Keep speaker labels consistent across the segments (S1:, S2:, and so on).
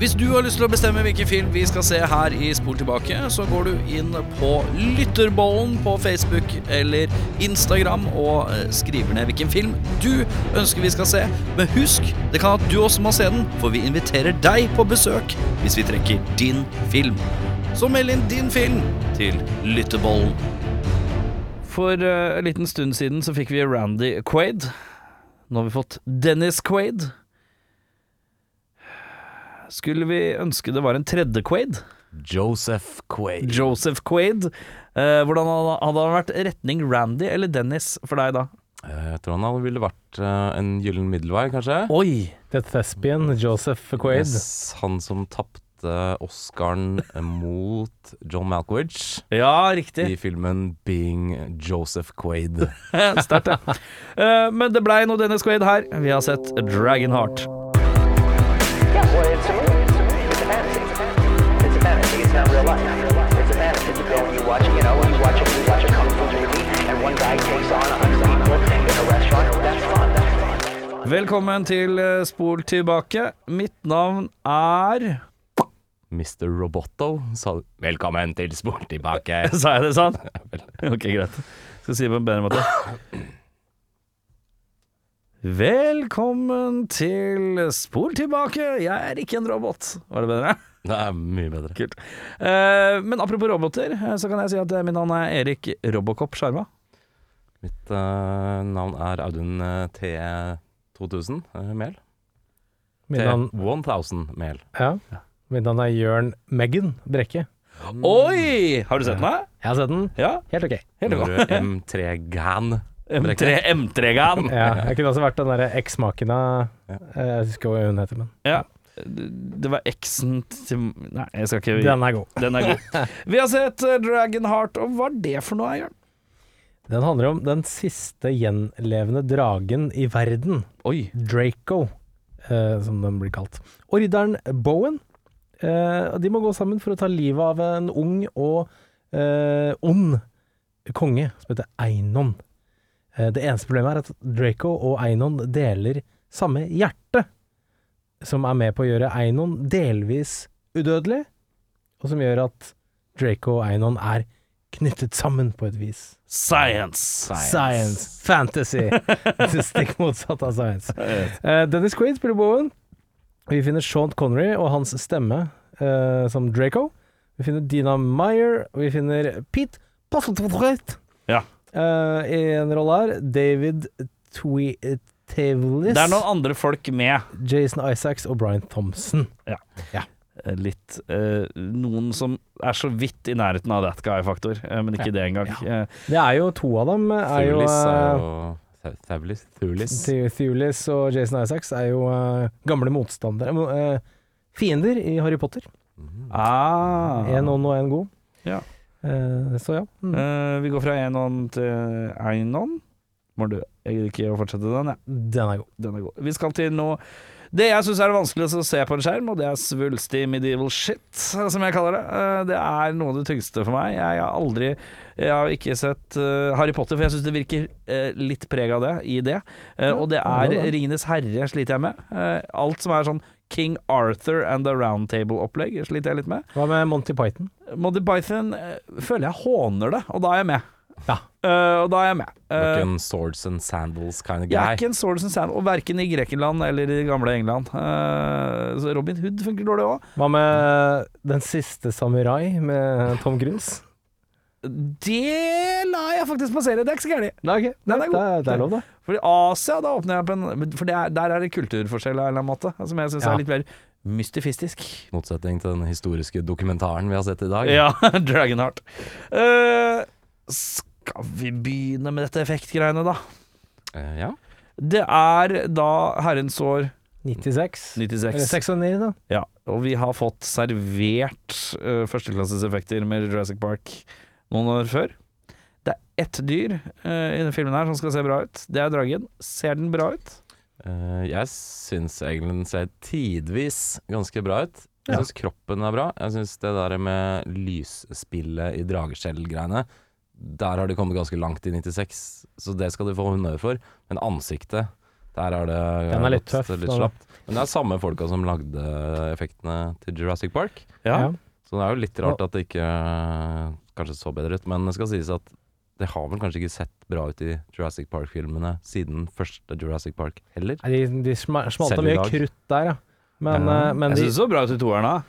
S1: Hvis du har lyst til å bestemme hvilken film vi skal se her i Spol tilbake, så går du inn på Lytterbollen på Facebook eller Instagram og eh, skriver ned hvilken film du ønsker vi skal se. Men husk, det kan at du også må se den, for vi inviterer deg på besøk hvis vi trekker din film. Så meld inn din film til Lytterbollen. For eh, en liten stund siden så fikk vi Randy Quaid. Nå har vi fått Dennis Quaid. Skulle vi ønske det var en tredje Quaid?
S2: Joseph Quaid.
S1: Joseph Quaid. Eh, hvordan hadde hadde han vært retning Randy eller Dennis for deg da?
S2: Eh, Jeg tror han hadde ville vært eh, en gyllen middelvei, kanskje.
S1: Oi!
S3: The Thespian, Joseph Quaid.
S2: Yes, han som tapte Oscaren mot John Malkovich
S1: Ja, riktig.
S2: i filmen 'Being Joseph Quaid'.
S1: Sterkt, ja. Eh, men det blei nå Dennis Quaid her. Vi har sett Dragonheart.
S4: Yes, well, it's a movie. It's a fantasy. It's a fantasy. It's not real life. It's a fantasy. You know, you watch, you know, you watch, a- you watch a kung fu movie, and one guy takes on a hundred people in a restaurant. That's fun. That's fun.
S1: Velkommen til eh, Spol tilbake. Mitt navn er
S2: Mr. Roboto sa 'velkommen til Sport tilbake'.
S1: Sa jeg det sånn? Ok, greit. Skal si det på en bedre måte. Velkommen til Spol tilbake. Jeg er ikke en robot. Var det bedre?
S2: Det er mye bedre.
S1: Kult. Eh, men apropos roboter, eh, så kan jeg si at eh, mitt navn er Erik Robocop Sjarma.
S2: Mitt eh, navn er Audun eh, T2000 eh, Mehl.
S3: Mitt navn,
S2: T1000 Mehl.
S3: ja. Mitt navn er Jørn Meggan Brekke.
S1: Oi! Har du sett meg?
S3: Jeg har sett den.
S1: Ja.
S3: Helt ok.
S1: Helt bra.
S2: M3-gan.
S1: M3, M3-gan.
S3: Ja, jeg kunne også vært den derre eksmaken av Jeg husker hva hun heter, men
S1: Ja. Det var eksen til Nei, jeg skal ikke
S3: den er god.
S1: Den er god. Vi har sett eh, Dragonheart, og hva er det for noe, Jørn?
S3: Den handler om den siste gjenlevende dragen i verden,
S1: Oi.
S3: Draco, eh, som den blir kalt. Og ridderen Bowen. Eh, de må gå sammen for å ta livet av en ung og eh, ond konge som heter Einon. Eh, det eneste problemet er at Draco og Einon deler samme hjerte, som er med på å gjøre Einon delvis udødelig, og som gjør at Draco og Einon er knyttet sammen på et vis.
S1: Science.
S3: Science. Fantasy. Det stikk motsatt av science. Eh, Dennis Quaid spiller Bowen. Vi finner Sean Connery og hans stemme eh, som Draco. Vi finner Dina Meyer, og vi finner Pete Postlethwaite
S1: Ja.
S3: Eh, i en rolle her. David Tweetavlis,
S1: Det er noen andre folk med.
S3: Jason Isaacs og Brian Thompson.
S1: Eh, Litt eh, Noen som er så vidt i nærheten av that guy-faktor, eh, men ikke det engang. Eh,
S3: Det er jo to av dem. eh, Er jo,
S2: Thulis er
S3: eh,
S2: jo Thau- Thaulis? Thulis?
S3: Theo- Thewlis og Jason Isaacs er jo eh, gamle motstandere eh, Fiender i Harry Potter.
S1: Ah.
S3: Én ond og én god.
S1: Ja.
S3: Eh, så ja. Mm.
S1: Eh, vi går fra én ånd til én ånd. Må du Jeg gidder ikke å fortsette den, jeg.
S3: Den er god.
S1: Den er god. Vi skal til noe Det jeg syns er det vanskeligste å se på en skjerm, og det er svulstig medieval shit, som jeg kaller det. Eh, Det er noe av det tyngste for meg. Jeg har aldri Jeg har ikke sett eh, Harry Potter, for jeg syns det virker eh, litt preg av det i det. Eh, Og det
S3: det er
S1: er
S3: det.
S1: Ringenes herre sliter jeg med. Eh, Alt som er sånn King Arthur and the Round Table-opplegg sliter jeg litt med.
S3: Hva med Monty Python?
S1: Monty Python eh, føler jeg håner det, og da er jeg med.
S3: Ja.
S1: Eh, og da er jeg med.
S2: Du er
S1: Eh,
S2: ikke en swords and sandals kind of
S1: jeg er
S2: guy.
S1: ikke en swords and sand, og verken i Grekenland eller i gamle England. Eh, så Robin Hood funker dårlig òg.
S3: Hva med Den siste samurai med Tom Cruise?
S1: Det lar jeg faktisk passere, det er ikke så gærent.
S3: Nei, ok.
S1: Den er
S3: Det,
S1: god.
S3: er, det er lov, det.
S1: For i Asia, da åpner jeg opp en For det er, der er det kulturforskjell av en eller annen måte, som jeg syns
S3: Ja.
S1: er litt mer mystifistisk.
S2: Motsetning til den historiske dokumentaren vi har sett i dag.
S1: Ja, Dragonheart. Eh, skal vi begynne med dette effektgreiene, da?
S2: Eh, ja.
S1: Det er da herrens år
S3: 96. Eller
S1: 96.
S3: 96, da.
S1: Ja, og vi har fått servert eh, førsteklasses effekter med Jurassic Park noen år før. Det er ett dyr eh, i denne filmen her som skal se bra ut. Det er dragen. Ser den bra ut?
S2: Eh, jeg syns egentlig den ser tidvis ganske bra ut. Jeg
S1: Ja.
S2: syns kroppen er bra. Jeg syns det der med lysspillet i drageskjell-greiene Der har de kommet ganske langt i 96, så det skal de få honnør for. Men ansiktet Det Der er det
S3: Den er litt
S2: gått
S3: tøff,
S2: litt
S3: da.
S2: slapt. Men det er samme folka som lagde effektene til Jurassic Park.
S3: Ja.
S2: Så det er jo litt rart at det ikke eh, kanskje så bedre ut. Men det skal sies at det har vel kanskje ikke sett bra ut i Jurassic Park-filmene siden første Jurassic Park heller.
S3: Nei, De, de sma- smalta
S2: Selv i
S3: mye
S2: dag.
S3: krutt der, ja. Men,
S2: Ja.
S3: eh, men
S1: Jeg
S3: de,
S1: syns det så bra ut i toeren, da.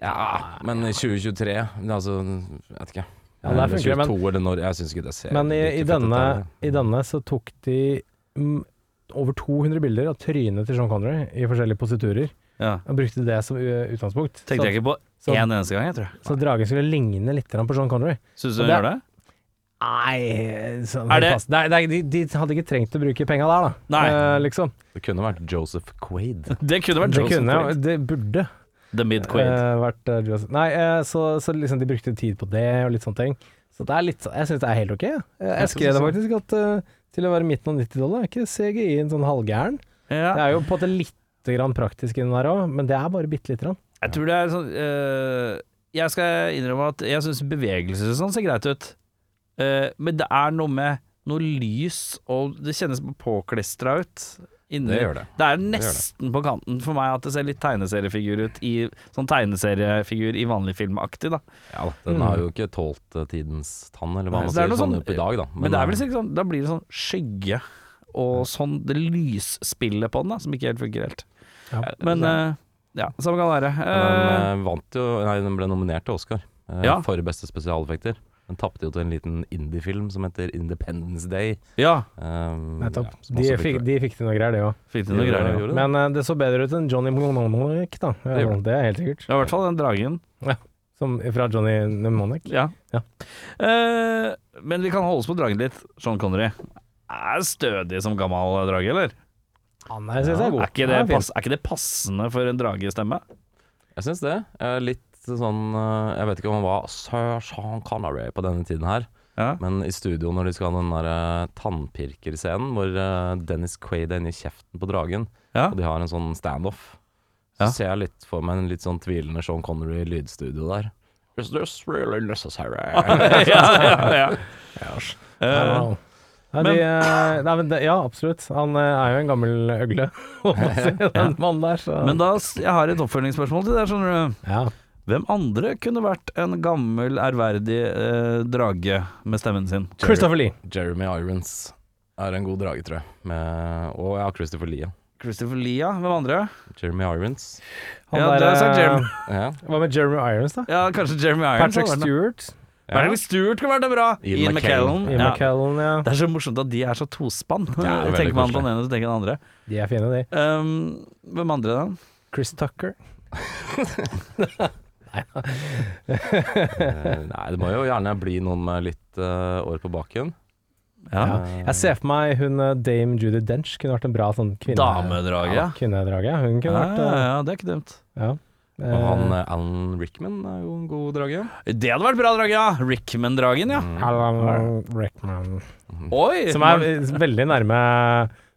S2: Ja, men i 2023 det er Altså, jeg vet ikke.
S3: Ja, der
S2: Eller
S3: funker det, men-
S2: 22 eller når, jeg syns ikke det ser
S3: men i,
S2: like
S3: i,
S2: fett ut
S3: denne,
S2: der.
S3: i denne så tok de mm, over 200 bilder av trynet til Sean Connery i forskjellige positurer.
S1: Ja.
S3: Og brukte det som u- utgangspunkt. Så,
S1: Tenkte jeg ikke på
S3: så-
S1: én eneste gang, jeg tror.
S3: så dragen skulle ligne litt grann på Sean Connery.
S1: Syns du hun
S3: Og det-
S1: gjør det?
S3: Nei, sånn,
S1: Er det-
S3: pass. Nei, nei de, de hadde ikke trengt å bruke penga der, da.
S1: Nei.
S3: Eh, liksom.
S2: Det kunne vært Joseph Quaid.
S1: Det kunne vært
S3: Det
S1: Joseph
S3: kunne, sånn
S1: Quaid.
S3: det burde
S1: The Mid-Quaid.
S3: eh, vært eh, Joseph. Nei, eh, så, så liksom de brukte tid på det og litt sånne ting. Så det er litt sånn Jeg syns det er helt ok. Jeg, jeg,
S1: Jeg synes
S3: skrev det
S1: også.
S3: faktisk at eh, til å være midten av 90-tallet er ikke CGI-en sånn halvgæren. Det
S1: Ja.
S3: er jo på en måte lite grann praktisk inni der òg, men det er bare bitte lite grann.
S1: Jeg tror det er sånn eh, Jeg skal innrømme at jeg syns bevegelser og sånn ser greit ut. Eh, men det er noe med noe lys, og det kjennes påklistra ut. Inni.
S2: Det gjør det.
S1: Det er
S2: gjør det.
S1: nesten på kanten for meg at det ser litt tegneseriefigur ut. I, sånn tegneseriefigur i vanlig filmaktig, da.
S2: Ja, da, den har jo ikke tålt eh, tidens tann, eller hva
S1: Nei,
S2: man
S1: så det er
S2: sier,
S1: noe
S2: sånn
S1: sånn-
S2: opp i dag, da. eh,
S1: Men, det er vel sikkert sånn Da blir det sånn skygge og sånn det lysspillet på den, da, som ikke helt funker helt.
S3: Ja.
S1: Men eh, ja, samme kan det være.
S2: Den
S1: Eh,
S2: eh, vant jo Nei, den ble nominert til Oscar eh,
S1: Ja.
S2: for beste spesialeffekter. Den tapte jo til en liten indie-film som heter Independence Day.
S1: ja,
S2: Um,
S3: Nettopp.
S2: ja, som
S3: de,
S2: også
S3: fikk, de fikk til noe greier, det òg.
S1: fikk til noe greier.
S2: Gjorde det.
S3: Men eh, det så bedre ut enn Johnny Mnemonic, da.
S2: Det gjorde
S3: Det er helt sikkert.
S1: Ja, i hvert fall den dragen.
S3: Som fra Johnny Mnemonic.
S1: Ja.
S3: Ja.
S1: Eh, men vi kan holde oss på dragen litt. Sean Connery er stødig som gammel drage, eller?
S3: Han er, synes jeg, er god.
S1: Er ikke,
S3: Han
S1: det
S3: fin.
S1: pass, er ikke det passende for en dragestemme?
S2: Jeg syns det. Eh, litt sånn eh, Jeg vet ikke om han var Sir Sean Connery på denne tiden her,
S1: Ja.
S2: men i studio når de skal ha den der eh, tannpirkerscenen hvor eh, Dennis Quaid er inni kjeften på dragen,
S1: Ja.
S2: og de har en sånn standoff,
S1: Ja.
S2: så ser jeg litt for meg en litt sånn tvilende Sean Connery i lydstudio der. Is this really necessary?
S1: ja, ja, ja. Eh,
S3: Ja. Nei, de, eh, nei, men det, ja, absolutt. Han eh, er jo en gammel øgle, å si, den mannen der. Så.
S1: men da, s- jeg har et oppfølgingsspørsmål til deg. skjønner du.
S3: ja.
S1: Hvem andre kunne vært en gammel, ærverdig eh, drage med stemmen sin?
S3: Christopher Lee.
S2: Jeremy Irons er en god drage, tror jeg. Med, og ja, Christopher Lee. ja.
S1: Christopher Lee, ja. Hvem andre?
S2: Jeremy Irons.
S3: Han
S1: Ja,
S3: der,
S1: du har sagt
S3: eh,
S1: Jeremy.
S2: Ja.
S3: Hva med Jeremy Irons, da?
S1: Ja, Kanskje Jeremy Irons?
S3: Patrick
S1: hadde vært noe.
S3: Stewart.
S2: Ja.
S1: Patrick Stewart kunne vært det bra!
S2: Ian
S1: Ian
S2: McKellen.
S1: McKellen.
S3: Ian
S1: Ja.
S3: McKellen, ja.
S1: Det er så morsomt at de er så tospann.
S2: er veldig
S1: tenker man på den
S2: koselig.
S1: ene, så tenker den andre.
S3: De er fine, de.
S1: Um, hvem andre da?
S3: Chris Tucker.
S2: Eh, Nei, det må jo gjerne bli noen med litt eh, år på baken.
S3: Ja. Jeg ser for meg hun eh, dame Judy Dench kunne vært en bra sånn kvinne...
S1: Damedraget.
S3: Ja, kvinnedrage. Hun
S1: Ja,
S3: kunne vært
S1: ja,
S3: eh,
S1: ja, det er ikke dumt.
S3: ja. Eh,
S2: Og han eh, Alan Rickman er jo en god drage.
S1: Det hadde vært bra drage, ja! Rickman-dragen,
S2: Mm.
S1: ja.
S3: Alan Rickman.
S1: Oi!
S3: Som er veldig nærme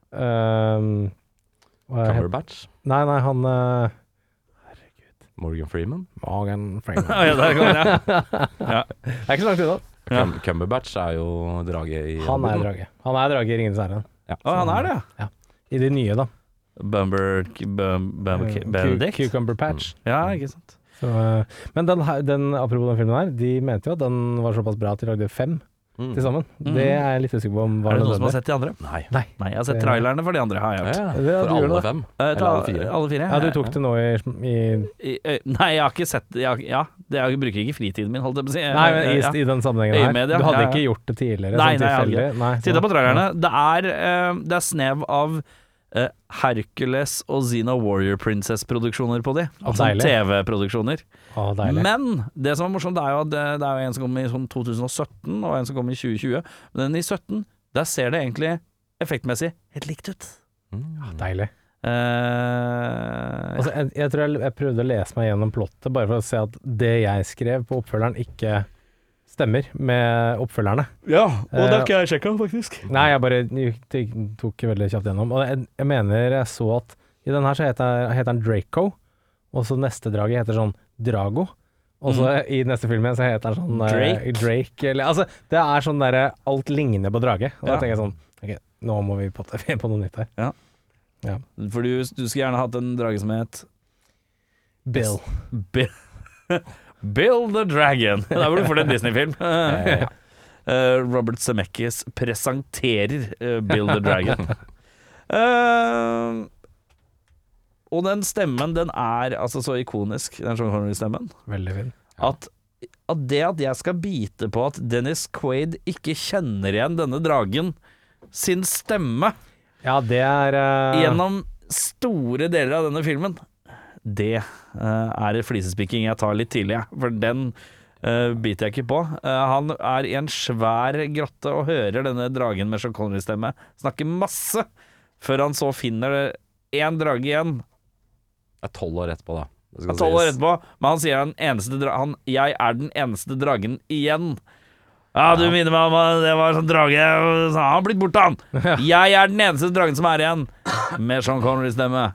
S3: eh, hva heter-
S2: Cumberbatch.
S3: Nei, nei, han eh,
S2: Morgan Freeman.
S3: Morgan
S1: Ja, ja, der kom den, ja.
S3: Det er ikke så langt unna.
S1: Ja.
S2: Cum- Cumberbatch er jo drage i
S3: Han er
S2: Hobbiten.
S3: drage. Han er drage i Ringenes herre.
S1: Å, han er det, ja.
S3: I de nye, da.
S1: Bumber... Bum, bum,
S3: Eh, cu-
S1: Benedict? Mm.
S3: Cucumber Patch.
S1: Ja, ikke sant.
S3: Så, eh, men den, her- den, apropos den filmen her, de mente jo at den var såpass bra at de lagde fem
S2: Mm.
S3: til sammen. Det er sånn- jeg litt usikker på om var
S1: Er det noen som har
S3: nødvendig.
S1: sett de andre?
S2: Nei.
S3: Nei.
S1: Nei, jeg har sett
S3: Det-
S1: trailerne for de andre, har jeg
S2: Ja,
S1: gjort.
S2: ja, for
S3: Det er du gjør
S2: alle
S3: det.
S2: fem.
S1: Eh,
S2: Eller alle fire.
S1: alle fire?
S3: Ja, du tok det nå i, i
S1: I- øy, Nei, jeg har ikke sett jeg, har- Ja, det- jeg bruker ikke fritiden min, holdt jeg på å si. Eh,
S3: Nei, men i,
S1: Ja.
S3: i den sammenhengen her.
S1: Øyemedia,
S3: Du hadde
S1: ja, ja.
S3: ikke gjort det tidligere?
S1: Nei, nei,
S3: sånn
S1: jeg hadde
S3: tilfeldig? Nei,
S1: Titta
S3: sånn.
S1: på trailerne. Det er, eh, det er snev av eh, Hercules og Xena Warrior Princess-produksjoner på de. Altså
S3: deilig.
S1: TV-produksjoner.
S3: Å, deilig.
S1: Men det som er morsomt, det er jo at det, det er jo en som kom i sånn 2017, og en som kom i 2020. Men den i 17, der ser det egentlig effektmessig helt likt ut.
S2: Mm.
S3: Ah, deilig.
S1: Eh,
S3: Altså, jeg, jeg tror jeg, jeg prøvde å lese meg gjennom plottet, bare for å se at det jeg skrev på oppfølgeren, ikke stemmer med oppfølgerne.
S1: ja,
S3: og det har ikke
S1: jeg sjekka, faktisk.
S3: Nei, jeg bare gikk- gikk- tok veldig kjapt gjennom. Og jeg, jeg mener jeg så at i den her så heter, heter han Draco, og så neste draget heter sånn Drago. Og så i neste film igjen så heter han sånn eh,
S1: Mm. Drake.
S3: Drake eller, altså, det er sånn derre eh, Alt ligner på drage. Og da
S1: Ja.
S3: tenker jeg sånn Ok, nå må vi potte- finne på noe nytt her.
S1: Ja.
S3: Ja.
S1: For du, du skulle gjerne hatt en drage som het
S3: Bill.
S1: Bill, Bill the Dragon. Da burde du fått en Disney-film. Eh, Robert Zemeckis presenterer eh, Bill the Dragon. Eh, og den stemmen, den er altså så ikonisk, den Sean Connery-stemmen,
S3: Veldig fin.
S1: at, at det at jeg skal bite på at Dennis Quaid ikke kjenner igjen denne dragen sin stemme
S3: Ja, det er eh,
S1: gjennom store deler av denne filmen, det eh, er et flisespikking jeg tar litt tidlig, jeg. For den eh, biter jeg ikke på. Eh, han er i en svær grotte og hører denne dragen med Sean Connery-stemme snakke masse, før han så finner én drage igjen.
S2: Det er tolv år etterpå, da. Det
S1: Han
S2: skal
S1: er tolv år
S2: sies.
S1: etterpå, men han sier han eneste dra han, 'Jeg er den eneste dragen igjen'. Ja, du minner meg om at det var sånn drage og så har Han blitt borte, han! Jeg er den eneste dragen som er igjen, med Sean Connery-stemme.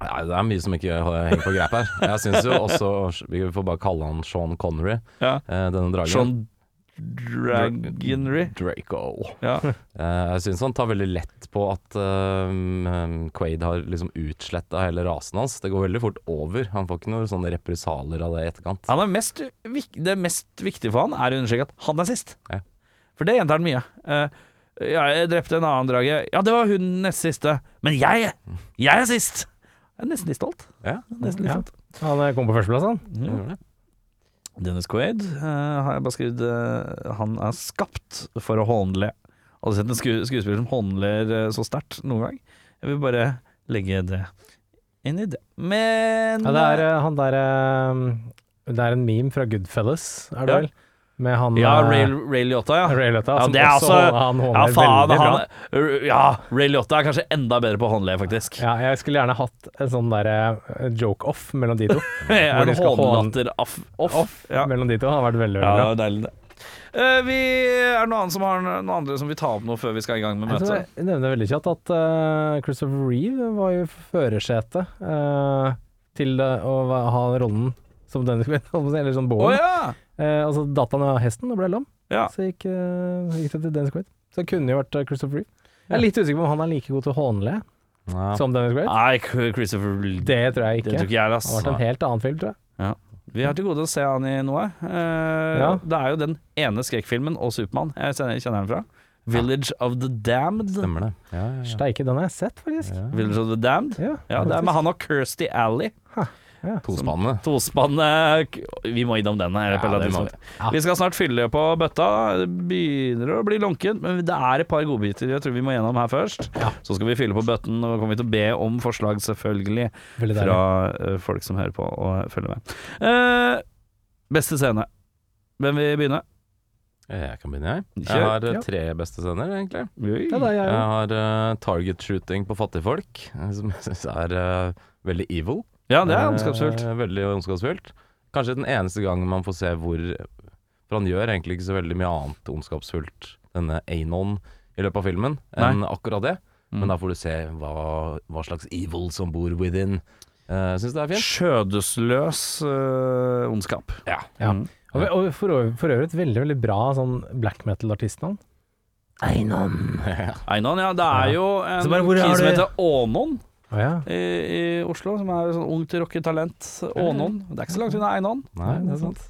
S2: Nei, det er mye som ikke eh, henger på greip her. Jeg syns jo også Vi får bare kalle han Sean Connery,
S1: Ja.
S2: eh, denne dragen.
S1: Sean Dragonry.
S2: Draco.
S1: Ja.
S2: Eh, jeg syns han tar veldig lett på at eh, Quaid har liksom utsletta hele rasen hans. Det går veldig fort over. Han får ikke noen sånne represalier av det i etterkant.
S1: Han er mest, vik- det mest viktige for han er å understreke at han er sist.
S2: Ja.
S1: For det gjentar han mye. Eh, ja, jeg drepte en annen drage. Ja, det var hun nest siste. Men jeg, jeg er sist! Jeg er nesten litt stolt.
S2: Ja,
S1: Nesten litt
S3: Ja.
S1: stolt.
S3: Han eh, kom på førsteplass, han.
S2: det gjør det.
S1: Dennis Quaid eh, har jeg bare skrevet eh, Han er skapt for å håndle. Har du sett en sku skuespiller som håndler eh, så sterkt noen gang? Jeg vil bare legge det inn i det. Men
S3: Ja, det er eh, han derre Det er en meme fra Goodfellas, er det
S1: Ja.
S3: vel? Med han
S1: Ja,
S3: eh,
S1: Ray, Ray Liotta, ja.
S3: Ray Liotta,
S1: Ja,
S3: som
S1: det er
S3: også
S1: altså-
S3: han
S1: Ja,
S3: håndler
S1: faen,
S3: veldig
S1: han,
S3: bra.
S1: ja, Ray Liotta er kanskje enda bedre på å håndle, faktisk.
S3: Ja, jeg skulle gjerne hatt en sånn derre joke-off mellom de to. hvor
S1: en
S3: de skal
S1: håndlatter off. off. ja.
S3: Mellom de to har vært veldig,
S1: ja,
S3: veldig
S1: det
S3: bra.
S1: var deilig, det. Eh, vi, er det noen andre som har noen andre som vil ta opp noe før vi skal i gang med
S3: Jeg tror
S1: møtet?
S3: jeg nevner veldig kjapt at eh, Christopher Reeve var jo i førersetet eh, til eh, å va- ha rollen som Dennis Quaid, holdt på å si, eller sånn
S1: Å
S3: Bowen.
S1: ja!
S3: Eh, og så datt han av hesten og ble lam,
S1: Ja.
S3: så gikk, eh, gikk det til Dennis Quaid. Så det kunne jo vært eh, Christopher Reeve. Jeg er litt usikker på om han er like god til å hånle
S2: Ja.
S3: som Dennis Quaid.
S1: Nei, Christopher Det,
S3: Det tror jeg
S1: det tror
S3: ikke.
S1: ikke jeg, ass.
S3: Det har vært en helt annen film, tror jeg.
S1: Vi har til gode å se han i noe. Eh,
S3: Ja.
S1: Det er jo den ene skrekkfilmen og Supermann jeg kjenner kjenner han fra. Village of the Damned.
S2: Stemmer det. Ja, ja, ja.
S3: Steike, den har jeg sett, faktisk.
S2: ja.
S1: Village of the Damned.
S3: Ja,
S1: Ja, det er med han og Kirsty Alley.
S2: Tospannet.
S1: Tospannet Vi må innom den. her på et
S2: Ja,
S1: eller annet
S2: det må
S1: tidspunkt. Vi skal snart fylle på bøtta. Det begynner å bli lunken, men det er et par godbiter jeg tror vi må gjennom her først. Så skal vi fylle på bøtten, og kommer vi til å be om forslag, selvfølgelig,
S3: Veldig deilig.
S1: fra eh, folk som hører på og følger med. Eh, beste scene. Hvem vil begynne?
S2: Jeg kan begynne, jeg.
S1: Kjør.
S2: Jeg har eh,
S3: Ja.
S2: tre beste scener, egentlig.
S3: Ja, det er jeg
S2: Jeg
S3: jo.
S2: har eh, target shooting på fattigfolk, eh, som jeg syns er eh, veldig evil.
S1: Ja, det er
S2: Eh,
S1: ondskapsfullt.
S2: veldig ondskapsfullt. Kanskje den eneste gangen man får se hvor For han gjør egentlig ikke så veldig mye annet ondskapsfullt, denne Anon, i løpet av filmen, enn akkurat det.
S1: Mm.
S2: Eh, Men da får du se hva, hva slags evil som bor within. Uh, Syns det er fint.
S1: Mm. Skjødesløs eh, ondskap.
S2: Ja.
S3: Ja.
S1: Mm.
S3: Og, og for, øvrig, for øvrig et veldig veldig bra sånn black metal-artistnavn. Einon.
S1: Einan, ja. Det er jo en
S3: Så bare, hvor
S1: kis
S3: har
S1: som
S3: du-
S1: heter Ånon.
S3: Å ja.
S1: i, i Oslo, som er sånn ungt rocketalent. Ånon. Det er ikke så langt unna Einon.
S2: Nei, det er sant.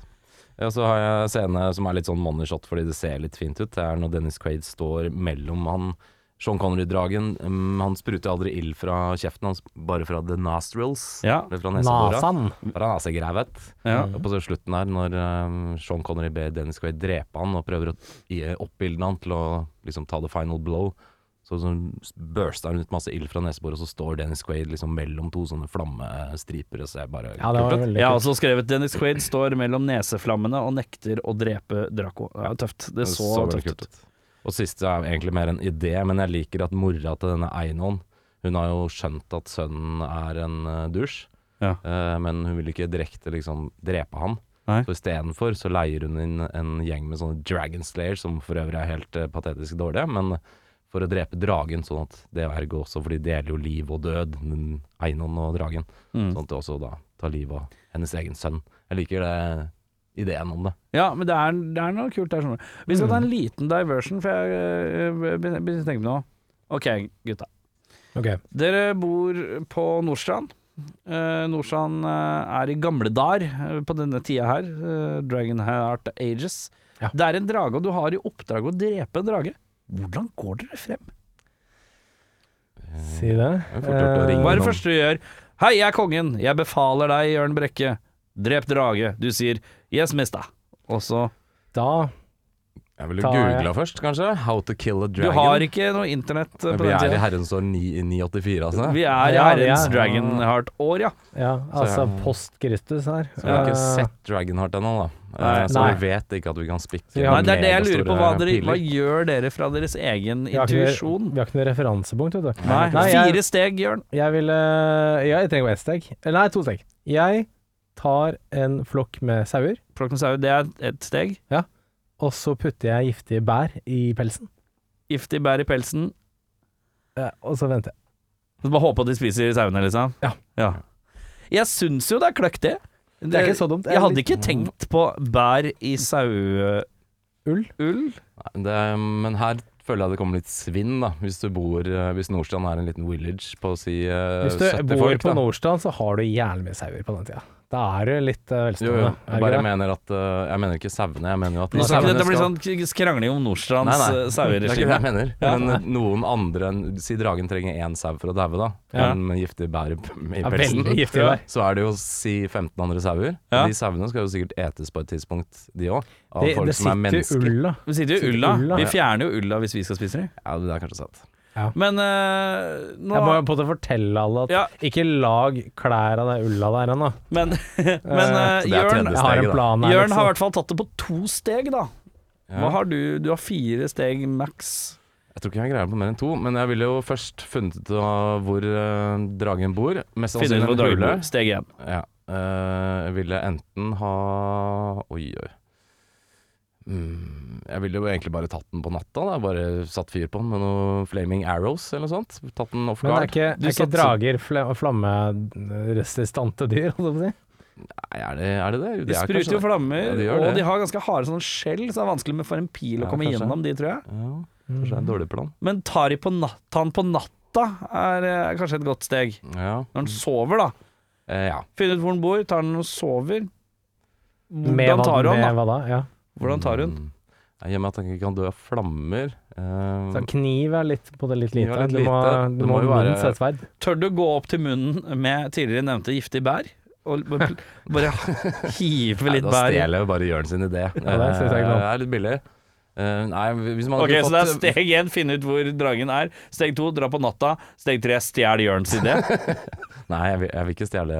S2: Ja, så har jeg en scene som er litt sånn money shot fordi det ser litt fint ut. Det er når Dennis Quaid står mellom han Sean Connery-dragen. Mm, han spruter aldri ild fra kjeften hans, bare fra the nostrils.
S1: Ja.
S2: Eller fra nesedora.
S3: Nasan.
S2: Fra nasegrevet.
S1: Ja.
S3: Mm.
S2: Og på så slutten her, når um, Sean Connery ber Dennis Quaid drepe han og prøver å i- oppildne han til å liksom ta the final blow, så, så børster han ut masse ild fra neseboret, og så står Dennis Quaid liksom mellom to sånne flammestriper og ser bare
S3: Ja, det var
S2: kult ut.
S3: veldig
S1: Jeg har
S3: kult.
S1: også skrevet Dennis Quaid står mellom neseflammene og nekter å drepe Draco. Det er tøft. Det så,
S2: veldig
S1: tøft ut.
S2: ut. Og siste er egentlig mer en idé, men jeg liker at mora til denne Einon Hun har jo skjønt at sønnen er en eh, dusj,
S1: Ja.
S2: eh, men hun vil ikke direkte liksom drepe han.
S1: Nei.
S2: Så istedenfor så leier hun inn en gjeng med sånne Dragon Slayer, som for øvrig er helt eh, patetisk dårlige, men for å drepe dragen, sånn at det ergo også, for de deler jo liv og død, den Einon og dragen.
S1: Mm.
S2: Sånn at det også da tar livet av hennes egen sønn. Jeg liker det, ideen om det.
S1: Ja, men det er, det er noe kult der. skjønner du. Vi eh, skal ta en liten diversion, for jeg øh, begynner begynner å tenke på noe. OK, gutta.
S3: Ok.
S1: Dere bor på Nordstrand. Eh, Nordstrand eh, er i gamle dar eh, på denne tida her. eh, Dragonheart Ages.
S3: Ja.
S1: Det er en drage, og du har i oppdrag å drepe en drage. Hvordan går dere frem?
S3: Si det. Eh,
S2: er fort gjort å ringe
S1: Hva er det
S2: noen.
S1: første du gjør? Hei, jeg er kongen. Jeg befaler deg, Jørn Brekke. Drep drage. Du sier yes, mista. Og så
S3: Da
S2: Jeg ville
S3: Ta-
S2: googla først, kanskje. How to kill a
S1: Du
S2: dragon.
S1: har ikke noe internett eh, på
S2: Vi
S1: den
S2: er i
S1: tida.
S2: herrens år 9 984, altså.
S1: Vi er i
S3: Ja, vi
S1: herrens
S3: er.
S1: Dragonheart-år, ja.
S3: Ja, altså
S2: ja.
S3: post Kristus her.
S2: Så vi har ikke
S3: Eh,
S2: sett Dragonheart ennå, da.
S1: Nei.
S2: Eh, Så
S3: Nei.
S2: vi vet ikke at vi kan spikke
S3: vi har
S1: Nei, det er det jeg lurer på. Hva,
S2: megastore
S1: dere, hva
S2: piler.
S1: gjør dere fra deres egen
S3: vi har ikke noe-
S1: intuisjon?
S3: Vi har ikke noe referansepunkt, vet du.
S1: Nei,
S3: Nei, jeg-
S1: fire steg, Jørn.
S3: Jeg ville Ja, jeg trenger bare ett steg. Eller Nei, to steg. Jeg tar en flokk med sauer,
S1: Plukk med sau, det er et steg.
S3: og så putter jeg giftige bær i pelsen.
S1: Giftig bær i pelsen.
S3: Eh, Og så venter jeg.
S1: Så bare håpe at de spiser sauene, liksom.
S3: Ja.
S1: Jeg syns jo det er kløkt, det.
S3: Det er ikke så dumt. Mm. Det er
S1: Jeg hadde
S3: litt-
S1: ikke tenkt på bær i saueull. Ull?
S2: Nei, det, men her føler jeg det kommer litt svinn, da. Hvis du bor eh, Hvis Nordstrand er en liten village på si eh,
S3: Hvis du
S2: 70
S3: bor
S2: folk,
S3: på
S2: da.
S3: Nordstrand, så har du jævlig mye sauer på den tida. Da er du litt eh,
S2: Jo, jo.
S3: velstående.
S2: Jeg
S3: er du ikke
S2: bare
S3: det?
S2: mener at eh, Jeg mener ikke sauene, jeg mener jo at
S1: Nå skal
S2: sauene
S1: ikke dette bli
S2: skal-
S1: sånn k- skrangling om Nordstrands
S2: Nei,
S1: eh,
S2: nei. Det er ikke det
S1: saueregime.
S2: jeg mener.
S1: Ja.
S2: Men eh, noen andre enn Si dragen trenger én sau for å daue, da.
S1: Ja.
S2: Men med giftig bær i p- i
S3: Ja,
S2: pelsen.
S3: veldig giftig bær.
S2: Så er det jo si 15 andre sauer.
S1: Ja.
S2: De sauene skal jo sikkert etes på et tidspunkt, de òg. Av
S3: Det,
S2: folk
S3: det
S2: som er
S3: sitter
S2: mennesker.
S3: ull, da.
S1: Vi sitter jo i
S3: Sitter i
S1: ulla.
S3: ulla,
S1: Vi
S3: ja.
S1: fjerner jo ulla hvis vi skal spise dem.
S2: Ja, det er kanskje sant.
S1: Men eh, nå
S3: Jeg må på en måte fortelle alle at
S1: Ja.
S3: ikke lag klær av det ulla der ennå.
S1: Men, men eh,
S2: Så
S1: Jørn,
S2: det er tredje
S3: Jeg har
S2: steget,
S3: en
S2: da.
S3: plan her.
S1: Jørn har i
S3: liksom.
S1: hvert fall tatt det på to steg, da.
S2: Ja.
S1: Hva har du? Du har fire steg maks.
S2: Jeg tror ikke jeg greier på mer enn to, men jeg ville jo først funnet ut av hvor eh, dragen bor. Mest
S1: Finne ut
S2: sannsynlig
S1: hvor
S2: en hule.
S1: dragen Steg én.
S2: Ja. Eh, jeg ville enten ha Oi, oi. Mm, jeg ville jo egentlig bare tatt den på natta. Da. Bare satt fyr på den med noen flaming arrows eller noe sånt. Tatt den off
S3: Men er
S2: guard.
S3: ikke,
S1: Du
S3: er ikke
S1: satser-
S3: drager fl flammeresistente dyr, holdt jeg på å si?
S2: Nei, er det er det? det?
S1: De
S2: er
S1: spruter
S2: kanskje
S1: jo
S2: det.
S1: flammer,
S2: Ja, de gjør
S1: og
S2: det.
S1: de har ganske harde sånne skjell, så det er vanskelig med for en pil å
S2: Ja,
S1: komme
S2: kanskje.
S1: gjennom de, tror jeg.
S2: Ja,
S1: Mm.
S2: kanskje det er en dårlig plan.
S1: Men tar de på natt, ta den på natta er eh, kanskje et godt steg.
S2: Ja.
S1: Når den sover, da.
S2: Eh, ja.
S1: Finne ut hvor den bor, tar den og sover.
S3: Med
S1: Hvordan
S3: hva,
S1: tar hun,
S3: med
S1: da?
S3: hva da? Ja.
S1: Hvordan tar hun?
S2: Mm. Jeg gjemmer at jeg ikke kan dø av flammer. Eh,
S3: Så kniv er litt, på det litt
S2: Kniv
S3: lite.
S2: er litt
S3: du må,
S2: lite.
S3: du må,
S2: jo være-
S3: minst et sverd.
S1: Tør du gå opp til munnen med tidligere nevnte giftig bær? Og bare, bare hive litt
S2: Nei, Da
S1: bær i?
S2: stjeler jeg jo bare Jørn sin idé.
S3: Ja, det synes jeg
S2: Eh,
S3: ikke noe om.
S2: det er litt billig. Eh, nei, hvis man
S1: Ok,
S2: hadde
S1: Så det er
S2: fått
S1: steg én finne ut hvor dragen er. Steg to dra på natta. Steg tre stjel Jørns idé.
S2: Nei, jeg vil, jeg vil ikke stjele